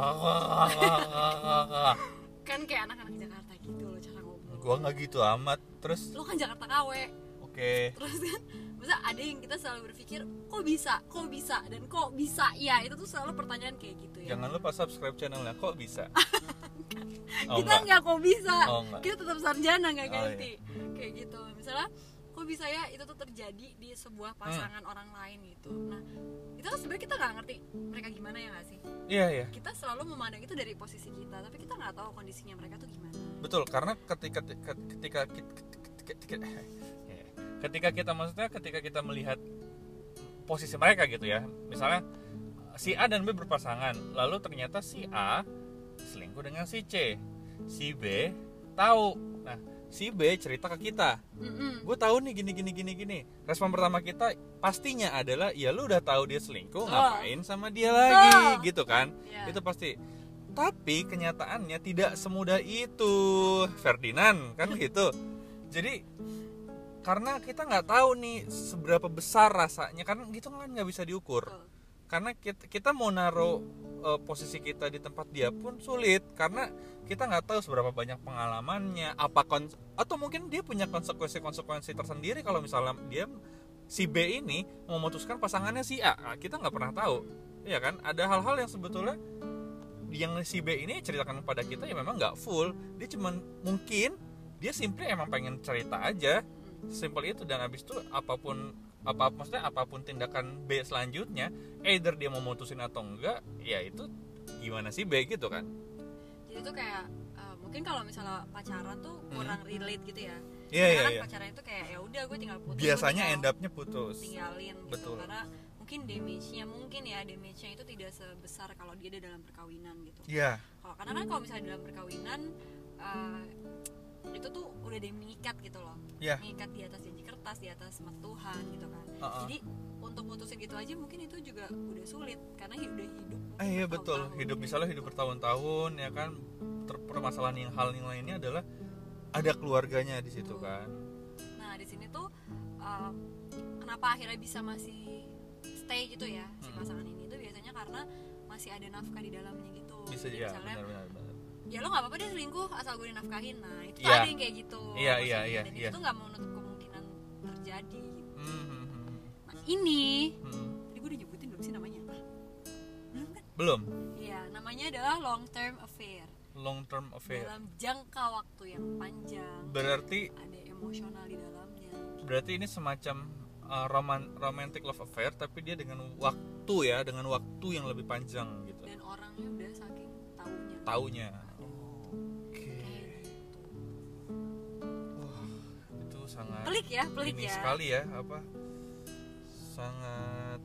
kan kayak anak-anak Jakarta gitu lo cara ngobrol
Gua nggak gitu amat. Terus
lo kan Jakarta KW
oke.
terus kan masa ada yang kita selalu berpikir kok bisa kok bisa dan kok bisa ya itu tuh selalu pertanyaan kayak gitu ya
Jangan lupa subscribe channelnya. Kok bisa? Oh,
kita
enggak.
nggak kok bisa
Oh, enggak.
kita tetap sarjana nggak
Oh,
ganti kayak gitu misalnya kok bisa ya itu tuh terjadi di sebuah
Hmm.
pasangan orang lain gitu nah itu kan sebenarnya kita nggak ngerti mereka gimana ya nggak sih
Iya iya.
kita selalu memandang itu dari posisi kita tapi kita nggak tahu kondisinya mereka tuh gimana
Betul. Karena ketika ketika ketika ketika, ketika kita maksudnya ketika kita melihat posisi mereka gitu ya. Misalnya si A dan B berpasangan, lalu ternyata si A selingkuh dengan si C. Si B tahu. Nah, si B cerita ke kita.
Mm-mm.
gue tahu nih gini gini gini gini respon pertama kita pastinya adalah ya lu udah tahu dia selingkuh
Betul.
ngapain sama dia lagi
Betul.
gitu kan
Ya.
itu pasti tapi kenyataannya tidak semudah itu Ferdinand kan gitu jadi karena kita nggak tahu nih seberapa besar rasanya karena gitu kan nggak bisa diukur
Betul.
karena kita, kita mau naruh eh, posisi kita di tempat dia pun sulit karena kita nggak tahu seberapa banyak pengalamannya apa kon atau mungkin dia punya konsekuensi-konsekuensi tersendiri kalau misalnya dia si B ini memutuskan pasangannya si A Nah, kita nggak pernah tahu ya kan ada hal-hal yang sebetulnya yang si B ini ceritakan kepada kita ya memang nggak full dia cuman mungkin dia simply emang pengen cerita aja simple itu dan habis itu apapun apa maksudnya apapun tindakan B selanjutnya either dia mau mutusin atau enggak ya itu gimana sih B gitu kan
jadi tuh kayak eh, mungkin kalau misalnya pacaran tuh kurang relate gitu ya
iya
Karena kan pacaran itu kayak ya udah gue tinggal putus
biasanya
gue
end
tinggal
up-nya putus
tinggalin gitu
Betul.
karena mungkin damage-nya mungkin ya damage-nya itu tidak sebesar kalau dia ada dalam perkawinan gitu
iya
kalau karena kan kalau misalnya dalam perkawinan eh, itu tuh udah ada yang mengikat gitu loh
Iya.
mengikat di atas janji kertas di atas sama Tuhan gitu kan
Uh-uh.
jadi untuk putusin gitu aja mungkin itu juga udah sulit karena hi- udah hidup
eh, iya betul
bertahun-tahun.
hidup misalnya hidup bertahun-tahun ya kan Ter- permasalahan yang hal yang lainnya adalah ada keluarganya di situ kan
Nah di sini tuh uh, kenapa akhirnya bisa masih stay gitu ya si
Mm-mm.
pasangan ini tuh biasanya karena masih ada nafkah di dalamnya gitu.
bisa
Jadi
ya
misalnya
benar-benar benar.
ya lo nggak apa-apa deh selingkuh asal gue dinafkahin. Nah itu tuh
Iya.
ada yang kayak gitu.
Iya, iya,
maksudnya.
iya,
Dan
iya.
itu tuh nggak menutup kemungkinan terjadi. gitu.
Hmm, hmm, hmm,
Nah ini
hmm, hmm.
tadi gue udah nyebutin belum sih namanya? Belum kan?
belum
Iya namanya adalah long term affair.
long term affair
Dalam jangka waktu yang panjang
berarti
ada emosional di dalamnya.
berarti ini semacam uh, roman romantic love affair tapi dia dengan waktu ya dengan waktu yang lebih panjang gitu
Dan orangnya udah saking taunya.
taunya
Kayak
oke
gitu.
wah itu sangat
pelik ya pelik
ini
ya
sekali ya apa sangat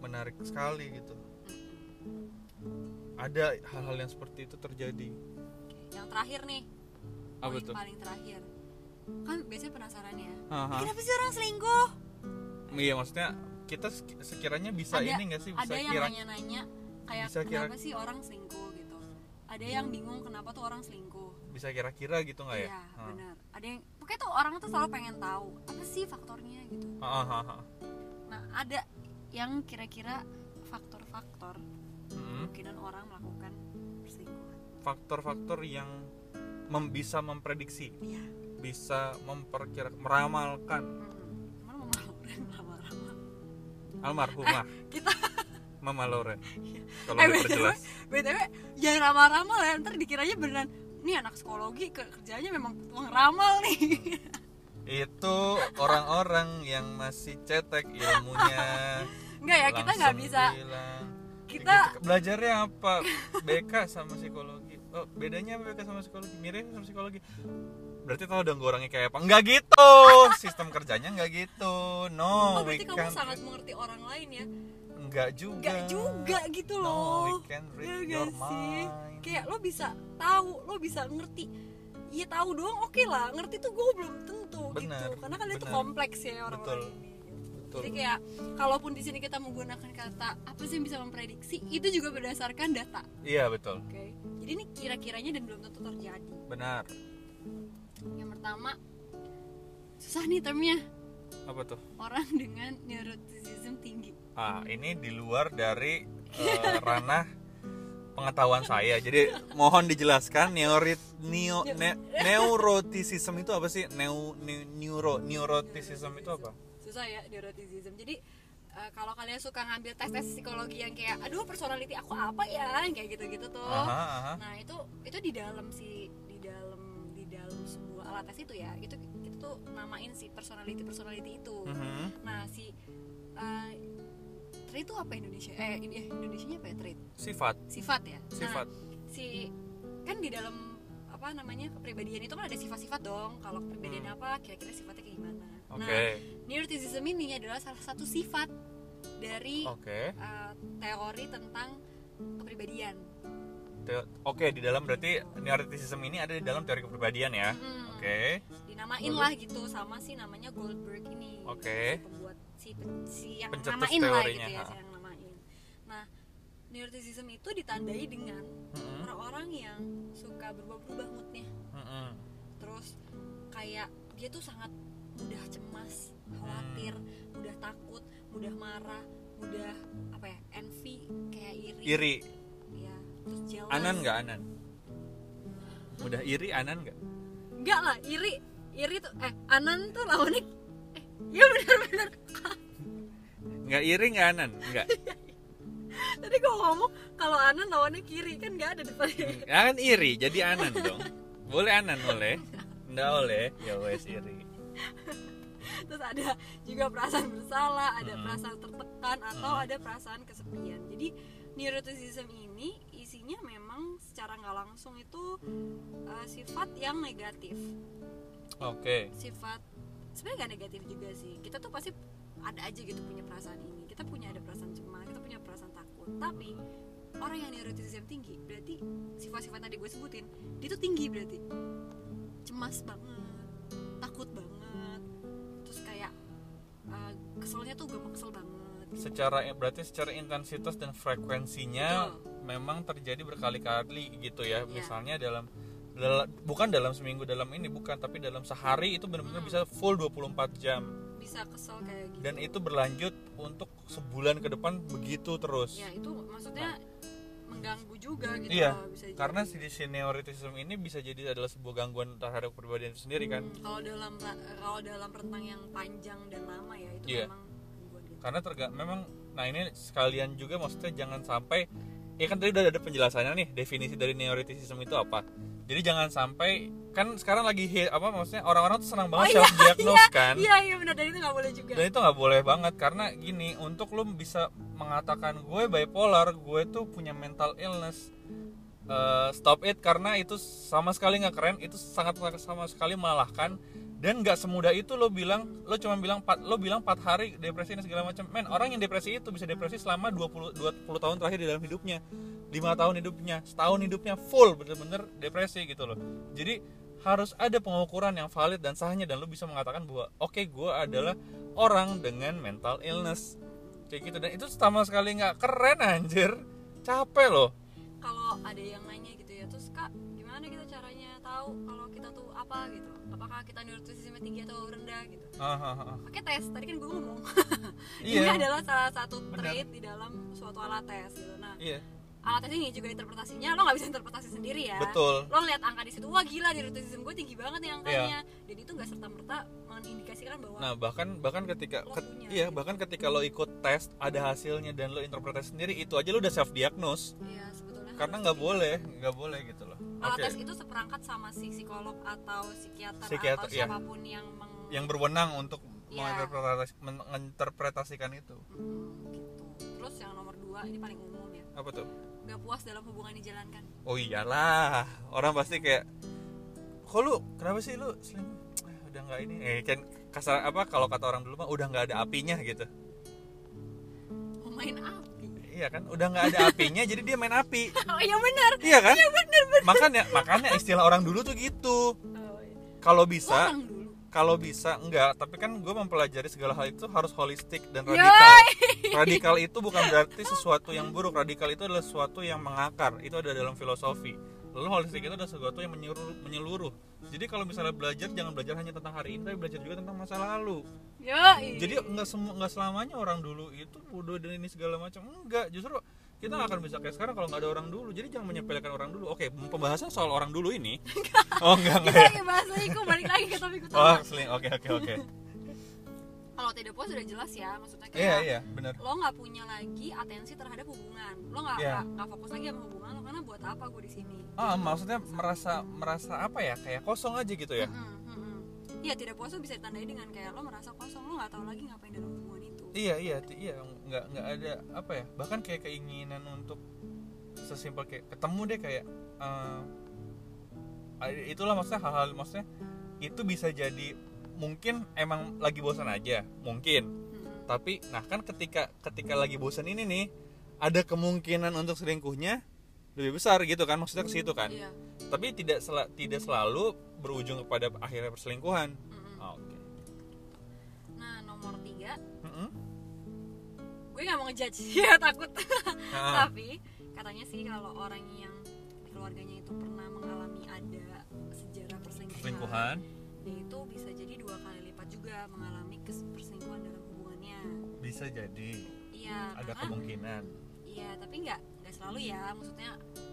menarik sekali gitu
Mm-mm.
ada hal-hal yang seperti itu terjadi
Oke, yang terakhir nih
apa
poin
tuh
paling terakhir kan biasanya penasaran ya
Aha.
kenapa sih orang selingkuh
iya maksudnya kita sek- sekiranya bisa
Ada-
ini nggak sih bisa
ada yang
kira
nanya-nanya kayak
Bisa kira-
kenapa sih orang selingkuh gitu ada yang bingung kenapa tuh orang selingkuh
bisa kira-kira gitu nggak ya
iya
Ha.
benar ada yang pokoknya tuh orang tuh selalu pengen tahu apa sih faktornya gitu
Ah, ah, ah, ah.
nah ada yang kira-kira faktor-faktor
Hmm? Mm-mm.
kemungkinan orang melakukan perselingkuhan
faktor-faktor yang mem- bisa memprediksi,
iya
bisa memperkirakan, meramalkan
Mm-mm. Cuman mau malu orang lama-lama
almarhumah
Eh, kita
Mama Lore. Kalau
Eh,
diperjelas.
BTW jangan ramal-ramal ya ntar dikiranya beneran nih anak psikologi ke- kerjanya memang tukang ramal nih
Itu orang-orang yang masih cetek ilmunya.
enggak ya kita nggak
langsung
bisa
bilang.
kita-
Gitu, belajarnya apa? BK sama psikologi. Oh, bedanya apa BK sama psikologi? Mirip sama psikologi. Berarti tahu dong gue orangnya kayak apa? Enggak gitu. Sistem kerjanya enggak gitu.
oh
No, we
berarti kamu
can't-
sangat mengerti orang lain ya
Enggak juga.
enggak juga gitu
No, we
loh
can read
Iya
your
nggak sih
mind.
kayak lo bisa tahu lo bisa ngerti Iya tahu doang oke lah ngerti tuh gue belum tentu
Benar,
gitu karena kan itu
benar.
kompleks ya orang-orang
Betul.
ini gitu.
Betul.
Jadi kayak kalaupun di sini kita menggunakan kata apa sih yang bisa memprediksi, itu juga berdasarkan data.
Iya betul.
Oke. Jadi ini kira-kiranya dan belum tentu terjadi.
Benar.
Yang pertama susah nih termnya
Apa tuh?
orang dengan neuroticism tinggi.
Ah, ini di luar dari eh, ranah pengetahuan saya. Jadi mohon dijelaskan neurit neo, ne- neuroticism itu apa sih? Neu, ne- neuro neuroticism itu apa?
Susah ya neuroticism. Jadi eh, kalau kalian suka ngambil tes-tes psikologi yang kayak aduh personality aku apa ya yang kayak gitu-gitu tuh.
Aha, aha.
Nah, itu itu di dalam si di dalam di dalam sebuah alat tes itu ya. Itu itu tuh namain si personality personality itu.
Mhm.
Nah, si eh trait itu apa Indonesia? Eh, ini Indonesianya apa ya trait?
Sifat,
Sifat ya. Nah,
sifat.
si kan di dalam apa namanya kepribadian itu kan ada sifat-sifat dong. Kalau kepribadian
Hmm.
apa, kira-kira sifatnya kayak gimana.
Oke.
Nah, neuroticism ini adalah salah satu sifat dari
Oke.
eh, teori tentang kepribadian.
Teo- Oke, di dalam berarti neuroticism ini ada di dalam teori kepribadian ya.
Mm.
Oke.
Dinamain lah gitu sama si namanya Goldberg ini.
Hmm. Oke.
Si pembuat si, pe- si yang
Pencetus
namain lah
teorinya,
gitu ya,
ha.
si yang namain. Nah, neuroticism itu ditandai dengan
Mhm,
orang-orang yang suka berubah-ubah moodnya
mhm.
terus kayak dia tuh sangat mudah cemas khawatir
Hmm.
mudah takut mudah marah mudah apa ya envy kayak iri
Iri.
ya terus jealous
Anan nggak Anan? Udah iri Anan nggak?
Enggak lah iri iri tuh eh anan tuh lawannya eh ya benar-benar
Nggak iri nggak Anan? Nggak.
tadi gua ngomong kalau anan lawannya kiri kan nggak ada depannya
Kan iri, jadi Anan dong. Boleh Anan boleh? Nggak boleh. Ya wes iri.
terus ada juga perasaan bersalah ada
Mm.
perasaan tertekan atau
Mm.
ada perasaan kesepian jadi neuroticism ini isinya memang secara nggak langsung itu uh, sifat yang negatif
Oke.
sifat sebenarnya nggak negatif juga sih kita tuh pasti ada aja gitu punya perasaan ini kita punya ada perasaan cemas kita punya perasaan takut tapi orang yang neuroticism tinggi berarti sifat-sifat tadi gue sebutin dia tuh tinggi berarti cemas banget takut banget terus kayak uh, keselnya tuh gampang kesel banget
Secara eh, berarti secara intensitas dan frekuensinya
Betul.
memang terjadi berkali-kali gitu
Iya.
ya. Misalnya dalam dala- bukan dalam seminggu dalam ini bukan tapi dalam sehari itu benar-benar bisa full 24 jam
bisa kesel kayak gitu
dan itu berlanjut untuk sebulan ke depan begitu terus
ya itu maksudnya mengganggu juga gitu
Iya,
loh, bisa jadi.
karena si senioritism ini bisa jadi adalah sebuah gangguan terhadap kepribadian itu sendiri kan
Hmm, kalau dalam kalau dalam rentang yang panjang dan lama ya itu
Iya.
memang gangguan gitu.
karena terga memang nah ini sekalian juga maksudnya jangan sampai ya kan tadi udah ada penjelasannya nih definisi dari neuroticism itu apa jadi jangan sampai kan sekarang lagi hit, apa maksudnya orang-orang tuh senang banget
iya,
self diagnose kan
Iya iya benar dan itu nggak boleh juga.
dan itu nggak boleh banget karena gini untuk lo bisa mengatakan gue bipolar gue tuh punya mental illness eh, stop it karena itu sama sekali nggak keren itu sangat sama sekali melelahkan dan nggak semudah itu lo bilang lo cuma bilang empat- lo bilang 4 hari depresi dan segala macam men orang yang depresi itu bisa depresi selama 20 20 tahun terakhir di dalam hidupnya 5 tahun hidupnya setahun hidupnya full bener-bener depresi gitu loh jadi harus ada pengukuran yang valid dan sahnya dan lo bisa mengatakan bahwa oke gue adalah orang dengan mental illness kayak gitu dan itu sama sekali nggak keren anjir capek loh
Kalau ada yang nanya gitu ya terus kak gimana kita caranya tahu kalau kita tuh apa gitu? Apakah kita neuroticism tinggi atau rendah gitu?
Ah, ah, ah.
Pakai tes tadi kan gue ngomong. Ini
iya
adalah salah satu
Benar.
trait di dalam suatu alat tes gitu. Nah
iya
alat tes ini juga interpretasinya lo nggak bisa interpretasi sendiri ya.
betul
lo lihat angka di situ wah gila neuroticism gue tinggi banget nih angkanya dan itu nggak serta merta mengindikasikan bahwa
Iya. nah bahkan bahkan ketika
Lo
ke-
punya.
iya bahkan ketika lo ikut tes ada hasilnya dan lo interpretasi sendiri itu aja lo udah self diagnose
ya sebetulnya
karena
harus
nggak
di-
boleh nggak boleh gitu loh
alat
oke
tes itu seperangkat sama si psikolog atau psikiater, atau
Psikiater, iya.
siapapun yang meng
yang berwenang untuk
Iya.
menginterpretasi- menginterpretasikan itu
Mm, gitu. Terus yang nomor dua ini paling umum ya,
apa tuh
nggak puas dalam hubungan dijalankan.
oh iyalah orang pasti kayak kok lu kenapa sih lu selingkuh Ah, udah nggak ini eh kan kasar apa kalau kata orang dulu mah udah nggak ada apinya gitu
Mau main api?
iya kan udah nggak ada apinya jadi dia main api
Oh iya benar.
iya kan makanya makanya istilah orang dulu tuh gitu
Oh, iya. Lo
kalau bisa
orang dulu.
kalau bisa enggak tapi kan gue mempelajari segala hal itu harus holistik dan
Yoi.
radikal radikal itu bukan berarti sesuatu yang buruk radikal itu adalah sesuatu yang mengakar itu ada dalam filosofi lalu holistik itu adalah sesuatu yang menyeluruh, menyeluruh. jadi kalau misalnya belajar jangan belajar hanya tentang hari ini tapi belajar juga tentang masa lalu
Yoi.
jadi nggak semua nggak selamanya orang dulu itu bodoh dan ini segala macam enggak justru kita nggak akan bisa kayak sekarang kalau nggak ada orang dulu jadi jangan menyepelekan orang dulu oke pembahasan soal orang dulu ini oh enggak
kita
enggak ya
lagi bahas selingkuh iya, balik lagi ke topik
oh
utama
seling oke oke oke
kalau tidak puas sudah jelas ya maksudnya kayak
iya iya benar
lo nggak punya lagi atensi terhadap hubungan lo nggak
Iya.
nggak nggak fokus lagi sama hubungan lo karena buat apa gue di sini
ah maksudnya merasa merasa apa ya kayak kosong aja gitu ya
Mm-mm, mm-mm. Iya tidak puas tuh bisa ditandai dengan kayak lo merasa kosong lo nggak tahu lagi ngapain dalam hubungan itu
iya iya ti- iya nggak nggak ada apa ya bahkan kayak keinginan untuk sesimpel kayak ketemu deh kayak eh, ah, itulah maksudnya hal-hal maksudnya itu bisa jadi mungkin emang lagi bosan aja mungkin
Mm-mm.
tapi nah kan ketika ketika lagi bosan ini nih ada kemungkinan untuk selingkuhnya lebih besar gitu kan maksudnya ke situ kan
Iya.
tapi tidak sela-
Hmm.
tidak selalu berujung kepada akhirnya perselingkuhan
Mm-mm.
Ah, oke
Nah nomor tiga
Mm-mm.
gue nggak mau ngejudge ya takut
Ah,
tapi katanya sih kalau orang yang di keluarganya itu pernah mengalami ada sejarah perselingkuhan,
perselingkuhan
dia itu bisa jadi dua kali lipat juga mengalami kes- perselingkuhan dalam hubungannya
bisa jadi
iya
ada
karena
kemungkinan
iya tapi nggak nggak selalu ya maksudnya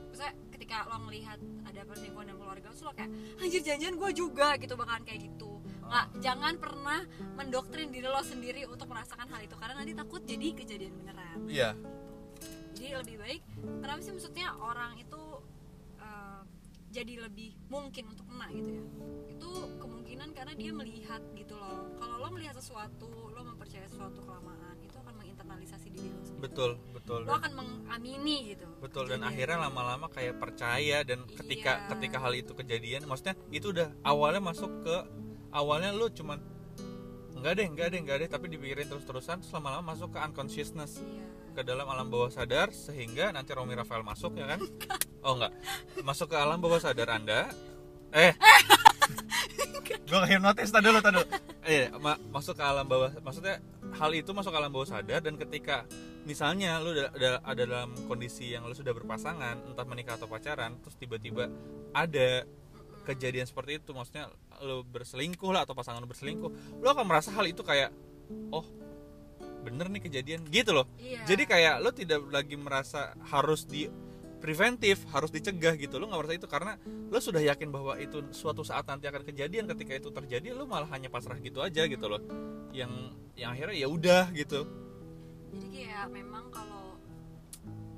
maksudnya ketika lo melihat ada perselingkuhan dalam keluarga terus lo kayak anjir janjian gue juga gitu bakalan kayak gitu
Ah.
nggak jangan pernah mendoktrin diri lo sendiri untuk merasakan hal itu karena nanti takut jadi kejadian beneran
iya
jadi lebih baik kenapa sih maksudnya orang itu eh, jadi lebih mungkin untuk kena gitu ya itu kemungkinan karena dia melihat gitu loh kalau lo melihat sesuatu lo mempercayai sesuatu kelamaan itu akan menginternalisasi diri lo sendiri
betul betul
lo akan mengamini gitu
betul dan
kan Jadi-
akhirnya lama-lama kayak percaya dan ketika
Iya.
ketika hal itu kejadian maksudnya itu udah awalnya masuk ke awalnya lu cuman enggak deh enggak deh enggak deh tapi dipikirin terus-terusan terus lama-lama masuk ke unconsciousness
iya
ke dalam alam bawah sadar sehingga nanti Romi Rafael masuk ya kan oh enggak masuk ke alam bawah sadar anda eh gue nggak hipnotis tadi dulu tadi dulu eh ma- masuk ke alam bawah maksudnya hal itu masuk ke alam bawah sadar dan ketika misalnya lu udah, udah- ada dalam kondisi yang lu sudah berpasangan entah menikah atau pacaran terus tiba-tiba ada
Mm-mm.
kejadian seperti itu maksudnya lo berselingkuh lah atau pasangan lo berselingkuh lo akan merasa hal itu kayak oh bener nih kejadian gitu loh
Iya.
jadi kayak lo tidak lagi merasa harus di preventif harus dicegah gitu lo nggak merasa itu karena lo sudah yakin bahwa itu suatu saat nanti akan kejadian ketika itu terjadi lo malah hanya pasrah gitu aja gitu loh yang yang akhirnya ya udah gitu
jadi kayak memang kalau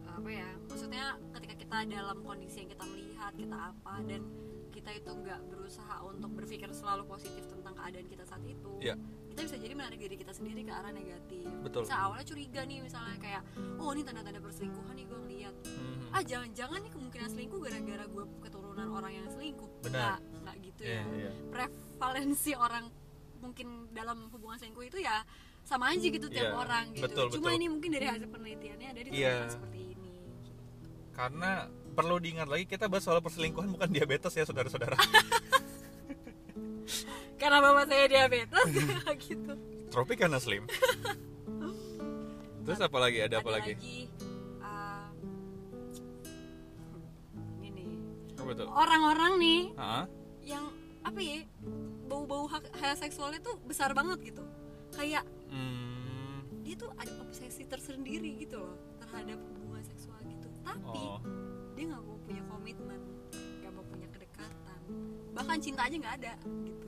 apa ya maksudnya ketika kita dalam kondisi yang kita melihat kita apa dan kita itu nggak berusaha untuk berpikir selalu positif tentang keadaan kita saat itu
Iya.
kita bisa jadi menarik diri kita sendiri ke arah negatif
Betul.
bisa awalnya curiga nih misalnya kayak oh ini tanda-tanda perselingkuhan nih gue ngeliat
Mhm.
ah jangan-jangan nih kemungkinan selingkuh gara-gara gue keturunan orang yang selingkuh
Benar.
nggak nggak gitu
Iya,
ya
iya.
prevalensi orang mungkin dalam hubungan selingkuh itu ya sama aja gitu tiap
Iya,
orang gitu.
betul,
Cuma
betul.
ini mungkin dari hasil penelitiannya ada di
Iya.
seperti ini.
karena perlu diingat lagi kita bahas soal perselingkuhan bukan diabetes ya saudara-saudara
Karena bapak saya diabetes gitu.
Tropicana Slim. Terus apa lagi? Ada apa lagi?
ah, ini nih.
Apa tuh?
Orang-orang nih
Hah?
yang apa ya? Bau-bau hak- hal seksualnya tuh besar banget gitu. Kayak
Hmm,
dia tuh ada obsesi tersendiri gitu loh terhadap hubungan seksual gitu. Tapi
oh.
dia nggak mau punya komitmen nggak mau punya kedekatan bahkan cinta aja nggak ada gitu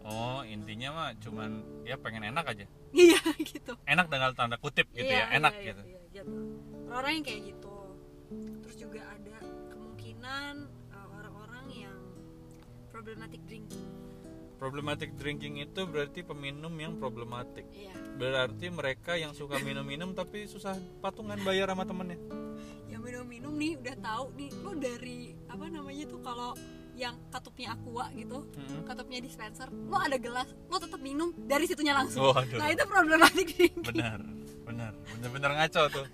Oh, intinya mah cuman ya pengen enak aja.
iya gitu
Enak dengan tanda kutip gitu
Iya,
ya, enak
iya,
gitu.
iya, iya, gitu. orang yang kayak gitu terus juga ada kemungkinan eh, orang-orang yang problematic drinking
Problematic drinking itu berarti peminum yang problematik.
iya
Berarti mereka yang suka minum-minum tapi susah patungan bayar sama temennya.
yang minum-minum nih udah tahu nih lo dari apa namanya tuh kalau yang katupnya aqua gitu
Mm-mm.
katupnya dispenser lo ada gelas lo tetap minum dari situnya langsung
Waduh.
nah itu problematic drinking
Benar, benar, benar-benar ngaco tuh.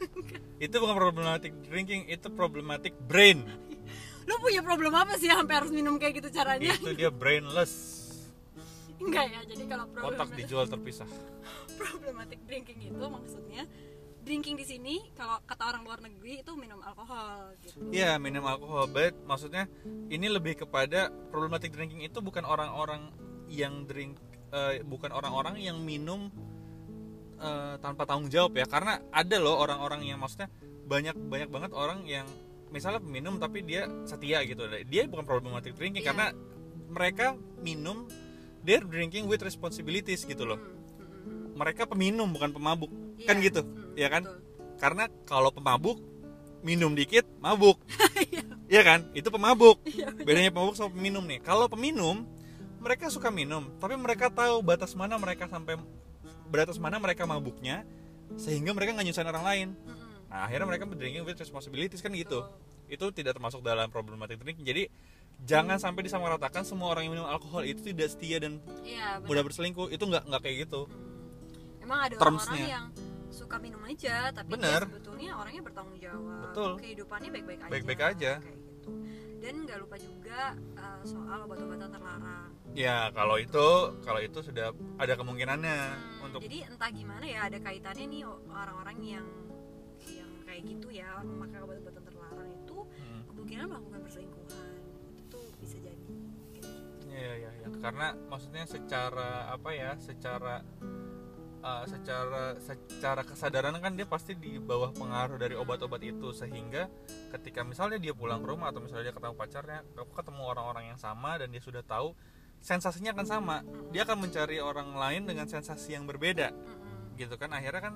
itu bukan problematic drinking, itu problematic brain. Iya.
lo punya problem apa sih sampai harus minum kayak gitu caranya
itu dia brainless
enggak ya jadi kalau
Kotak
problematic,
dijual terpisah.
problematic drinking itu maksudnya drinking di sini kalau kata orang luar negeri itu minum alkohol gitu
Iya, minum alkohol. But maksudnya ini lebih kepada problematic drinking itu bukan orang-orang yang drink eh, bukan orang-orang yang minum eh, tanpa tanggung jawab ya. Karena ada loh orang-orang yang maksudnya banyak banyak banget orang yang misalnya minum tapi dia setia gitu. Dia bukan problematic drinking
Iya.
karena mereka minum they're drinking with responsibilities gitu loh.
Hmm, hmm, hmm.
Mereka peminum bukan pemabuk. Kan
Iya,
gitu,
hmm,
ya kan?
betul.
Karena kalau pemabuk minum dikit mabuk. Iya kan? Itu pemabuk.
Iya,
Bedanya pemabuk sama peminum nih. Kalau peminum mereka suka minum, tapi mereka tahu batas mana mereka sampai batas mana mereka mabuknya sehingga mereka nggak nyusahin orang lain.
Hmm, hmm.
Nah, akhirnya mereka drinking with responsibilities kan gitu.
Betul.
Itu tidak termasuk dalam problematik drinking. Jadi jangan sampai disamaratakan semua orang yang minum alkohol itu tidak setia dan
Iya, benar.
mudah berselingkuh. Itu nggak nggak kayak gitu.
Hmm. Emang ada orang
Termsnya.
yang suka minum aja, tapi dia
Bener.
sebetulnya orangnya bertanggung jawab.
Betul.
Kehidupannya baik-baik aja.
Baik-baik aja.
Kayak gitu. Dan nggak lupa juga eh, soal obat-obatan terlarang.
Ya, kalau itu kalau itu sudah ada kemungkinannya
Hmm,
untuk
Jadi entah gimana ya ada kaitannya nih orang-orang yang yang kayak gitu ya memakai obat-obatan terlarang itu
Hmm.
kemungkinan melakukan perselingkuhan itu bisa jadi.
Iya iya iya. Karena maksudnya secara apa ya? Secara uh, secara secara kesadaran kan dia pasti di bawah pengaruh dari obat-obat itu sehingga ketika misalnya dia pulang ke rumah atau misalnya dia ketemu pacarnya, ketemu orang-orang yang sama dan dia sudah tahu sensasinya akan sama. Dia akan mencari orang lain dengan sensasi yang berbeda
Mm-mm.
gitu kan. Akhirnya kan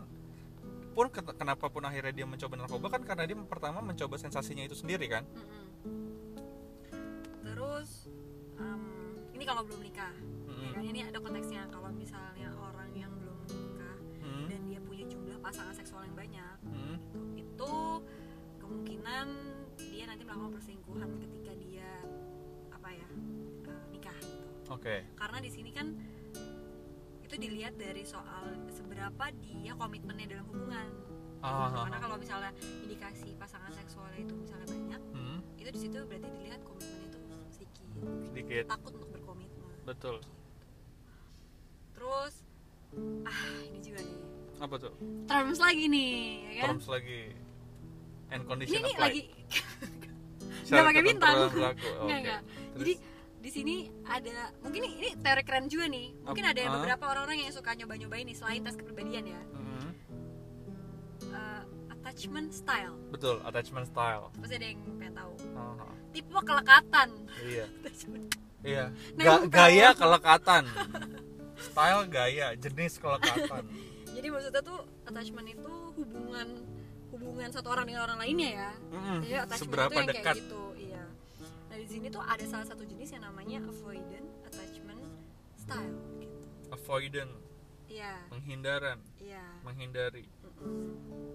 pun ken- kenapa pun akhirnya dia mencoba narkoba kan karena dia pertama mencoba sensasinya itu sendiri kan.
Mm-mm. Terus em, ini kalau belum nikah. Ya kan,
Mm-mm.
ini ada konteksnya kalau misalnya orang yang belum nikah
Mm-mm.
dan dia punya jumlah pasangan seksual yang banyak
Mm-mm.
itu kemungkinan dia nanti melakukan perselingkuhan ketika dia apa ya eh, nikah gitu.
Oke.
karena di sini kan itu dilihat dari soal seberapa dia komitmennya dalam hubungan
Ah, ah,
karena
ah.
kalau misalnya indikasi pasangan seksualnya itu misalnya banyak
Mm.
itu di situ berarti dilihat komitmennya itu sedikit
Sedikit.
takut untuk berkomitmen
Betul.
terus ah ini juga nih
Apa tuh?
terms lagi nih ya kan
Terms lagi. And
ini
condition
nih
applied.
lagi
Syarat
pakai
ketentuan
bintang.
berlaku. Oh, Oke.
Nggak, nggak.
Terus?
jadi di sini ada mungkin ini, ini teori keren juga nih mungkin
Ap-
ada
ah.
beberapa orang-orang yang suka nyoba-nyobain nih selain tes kepribadian ya
Mm-mm.
Eh, attachment style
Betul, attachment style.
pasti ada yang pengen tahu
Ah, ah.
tipe kelekatan
Iya.
Attachment.
Iya.
Nah,
Ga-
bukan.
gaya kelekatan. style gaya, jenis kelekatan.
jadi maksudnya tuh attachment itu hubungan hubungan satu orang dengan orang lainnya ya
Mm-mm.
jadi attachment itu
Hmm, Seberapa
yang
dekat?
kayak gitu iya nah di sini tuh ada salah satu jenis yang namanya avoidant attachment style gitu
Avoidant,
iya
penghindaran,
iya
menghindari.
Mm-mm.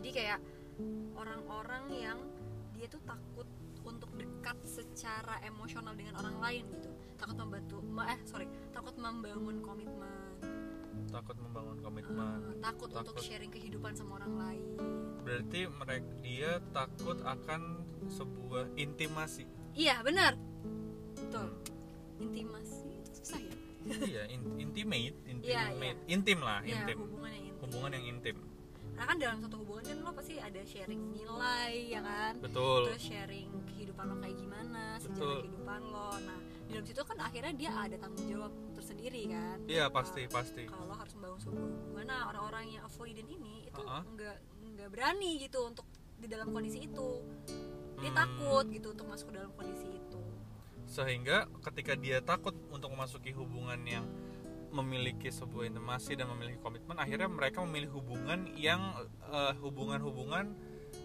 Jadi kayak orang-orang yang dia tuh takut untuk dekat secara emosional dengan orang lain gitu. Takut membantu ma- eh sorry, takut membangun komitmen.
Takut membangun komitmen.
Eh, takut, untuk
Takut.
sharing kehidupan sama orang lain.
Berarti mereka dia takut akan sebuah intimasi.
Iya, benar. Betul.
Hmm.
Intimasi itu susah ya?
iya, in- intimate, intimate.
Iya, iya.
Intim lah,
Iya,
Ah, intim.
hubungan yang intim.
hubungan yang intim
Karena kan dalam satu hubungan kan lo pasti ada sharing nilai ya kan?
betul
terus sharing kehidupan lo kayak gimana
Betul.
sejarah kehidupan lo nah di dalam situ kan akhirnya dia ada tanggung jawab tersendiri kan
iya pasti pasti
kalau lo harus membangun sebuah hubungan nah orang-orang yang avoidant ini itu
Uh-uh.
nggak nggak berani gitu untuk di dalam kondisi itu dia
Hmm.
takut gitu untuk masuk ke dalam kondisi itu
sehingga ketika dia takut untuk memasuki hubungan yang memiliki sebuah intimasi dan memiliki komitmen akhirnya mereka memilih hubungan yang eh, hubungan-hubungan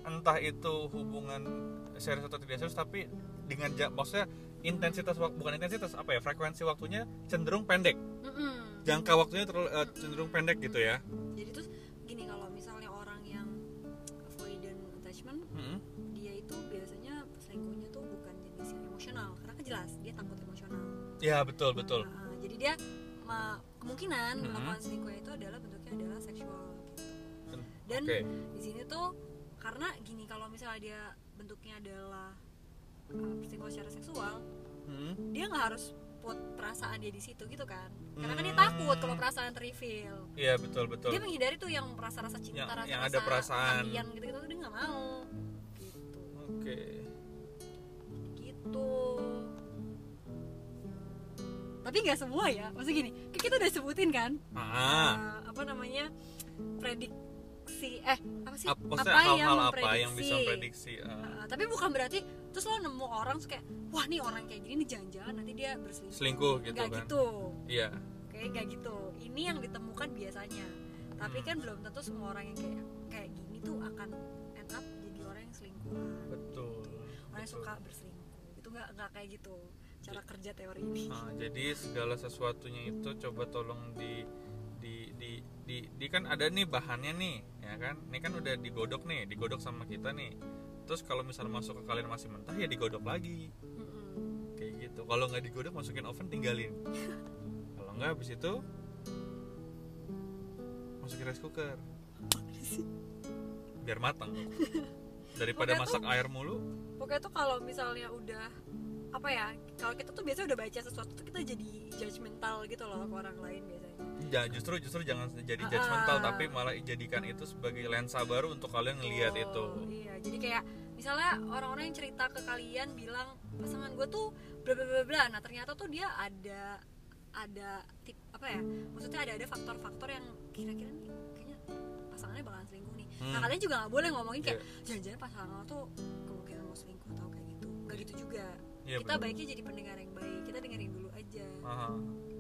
entah itu hubungan serius atau tidak serius tapi dengan ja- maksudnya intensitas wak- bukan intensitas apa ya frekuensi waktunya cenderung pendek
Mm-mm.
jangka waktunya terlalu- eh, cenderung pendek gitu ya
jadi terus gini kalau misalnya orang yang avoidant attachment
Mm-mm.
dia itu biasanya selingkuhnya tuh bukan jenis yang emosional karena kan jelas dia takut emosional
ya betul betul
Nah, jadi dia ma- kemungkinan
Mhm.
melakukan selingkuh itu adalah bentuknya adalah seksual. Dan
oke
di sini tuh karena gini kalau misalnya dia bentuknya adalah uh, perselingkuhan secara seksual,
Mm.
dia nggak harus menyerput perasaan dia di situ gitu kan karena kan dia takut kalau perasaan terreveal
Iya Mm-hmm. betul betul.
dia menghindari tuh yang merasa rasa cinta
Yang-
rasa
yang ada perasaan.
gitu gitu dia nggak mau gitu
Oke.
gitu tapi nggak semua ya maksud gini kayak kita udah sebutin kan
Ah,
eh, apa namanya prediksi eh apa sih
ap- maksudnya hal-hal apa yang bisa
memprediksi?
prediksi? ah.
Eh, tapi bukan berarti terus lo nemu orang terus kayak wah nih orang kayak gini nih jangan-jangan nanti dia berselingkuh
selingkuh gitu
Nggak
kan?
gitu
Iya.
kayak gak gitu ini yang ditemukan biasanya tapi
Hmm.
kan belum tentu semua orang yang kayak kayak gini tuh akan end up jadi orang yang selingkuhan
Betul.
orang yang
betul.
suka berselingkuh itu nggak nggak kayak gitu cara kerja teori ini
Iya. Ah, jadi segala sesuatunya itu coba tolong di di di di, di kan ada nih bahannya nih, ya kan? Ini kan udah digodok nih, digodok sama kita nih. Terus kalau misalnya masuk ke kalian masih mentah ya digodok lagi.
Mm-mm.
Kayak gitu. Kalau nggak digodok masukin oven tinggalin.
Hmm.
kalau nggak habis itu masukin rice cooker biar matang. Daripada
Pokoknya
masak air mulu.
pokoknya tuh kalau misalnya udah apa ya kalau kita tuh biasanya udah baca sesuatu tuh kita jadi judgmental gitu loh ke orang lain biasanya
Ja, justru justru jangan jadi judgmental
Ah.
tapi malah jadikan itu sebagai lensa baru untuk kalian ngelihat itu.
Betul, iya jadi kayak misalnya orang-orang yang cerita ke kalian bilang pasangan gue tuh bla bla bla bla nah ternyata tuh dia ada ada tip apa ya maksudnya ada ada faktor-faktor yang kira-kira nih kayaknya pasangannya bakalan selingkuh nih nah
Hmm. Iya.
kalian juga nggak boleh ngomongin kayak jangan-jangan pasangan lo tuh kemungkinan mau selingkuh atau kayak gitu nggak gitu juga
Iya,
kita
betul.
baiknya jadi pendengar yang baik kan kita dengerin dulu aja
Aha.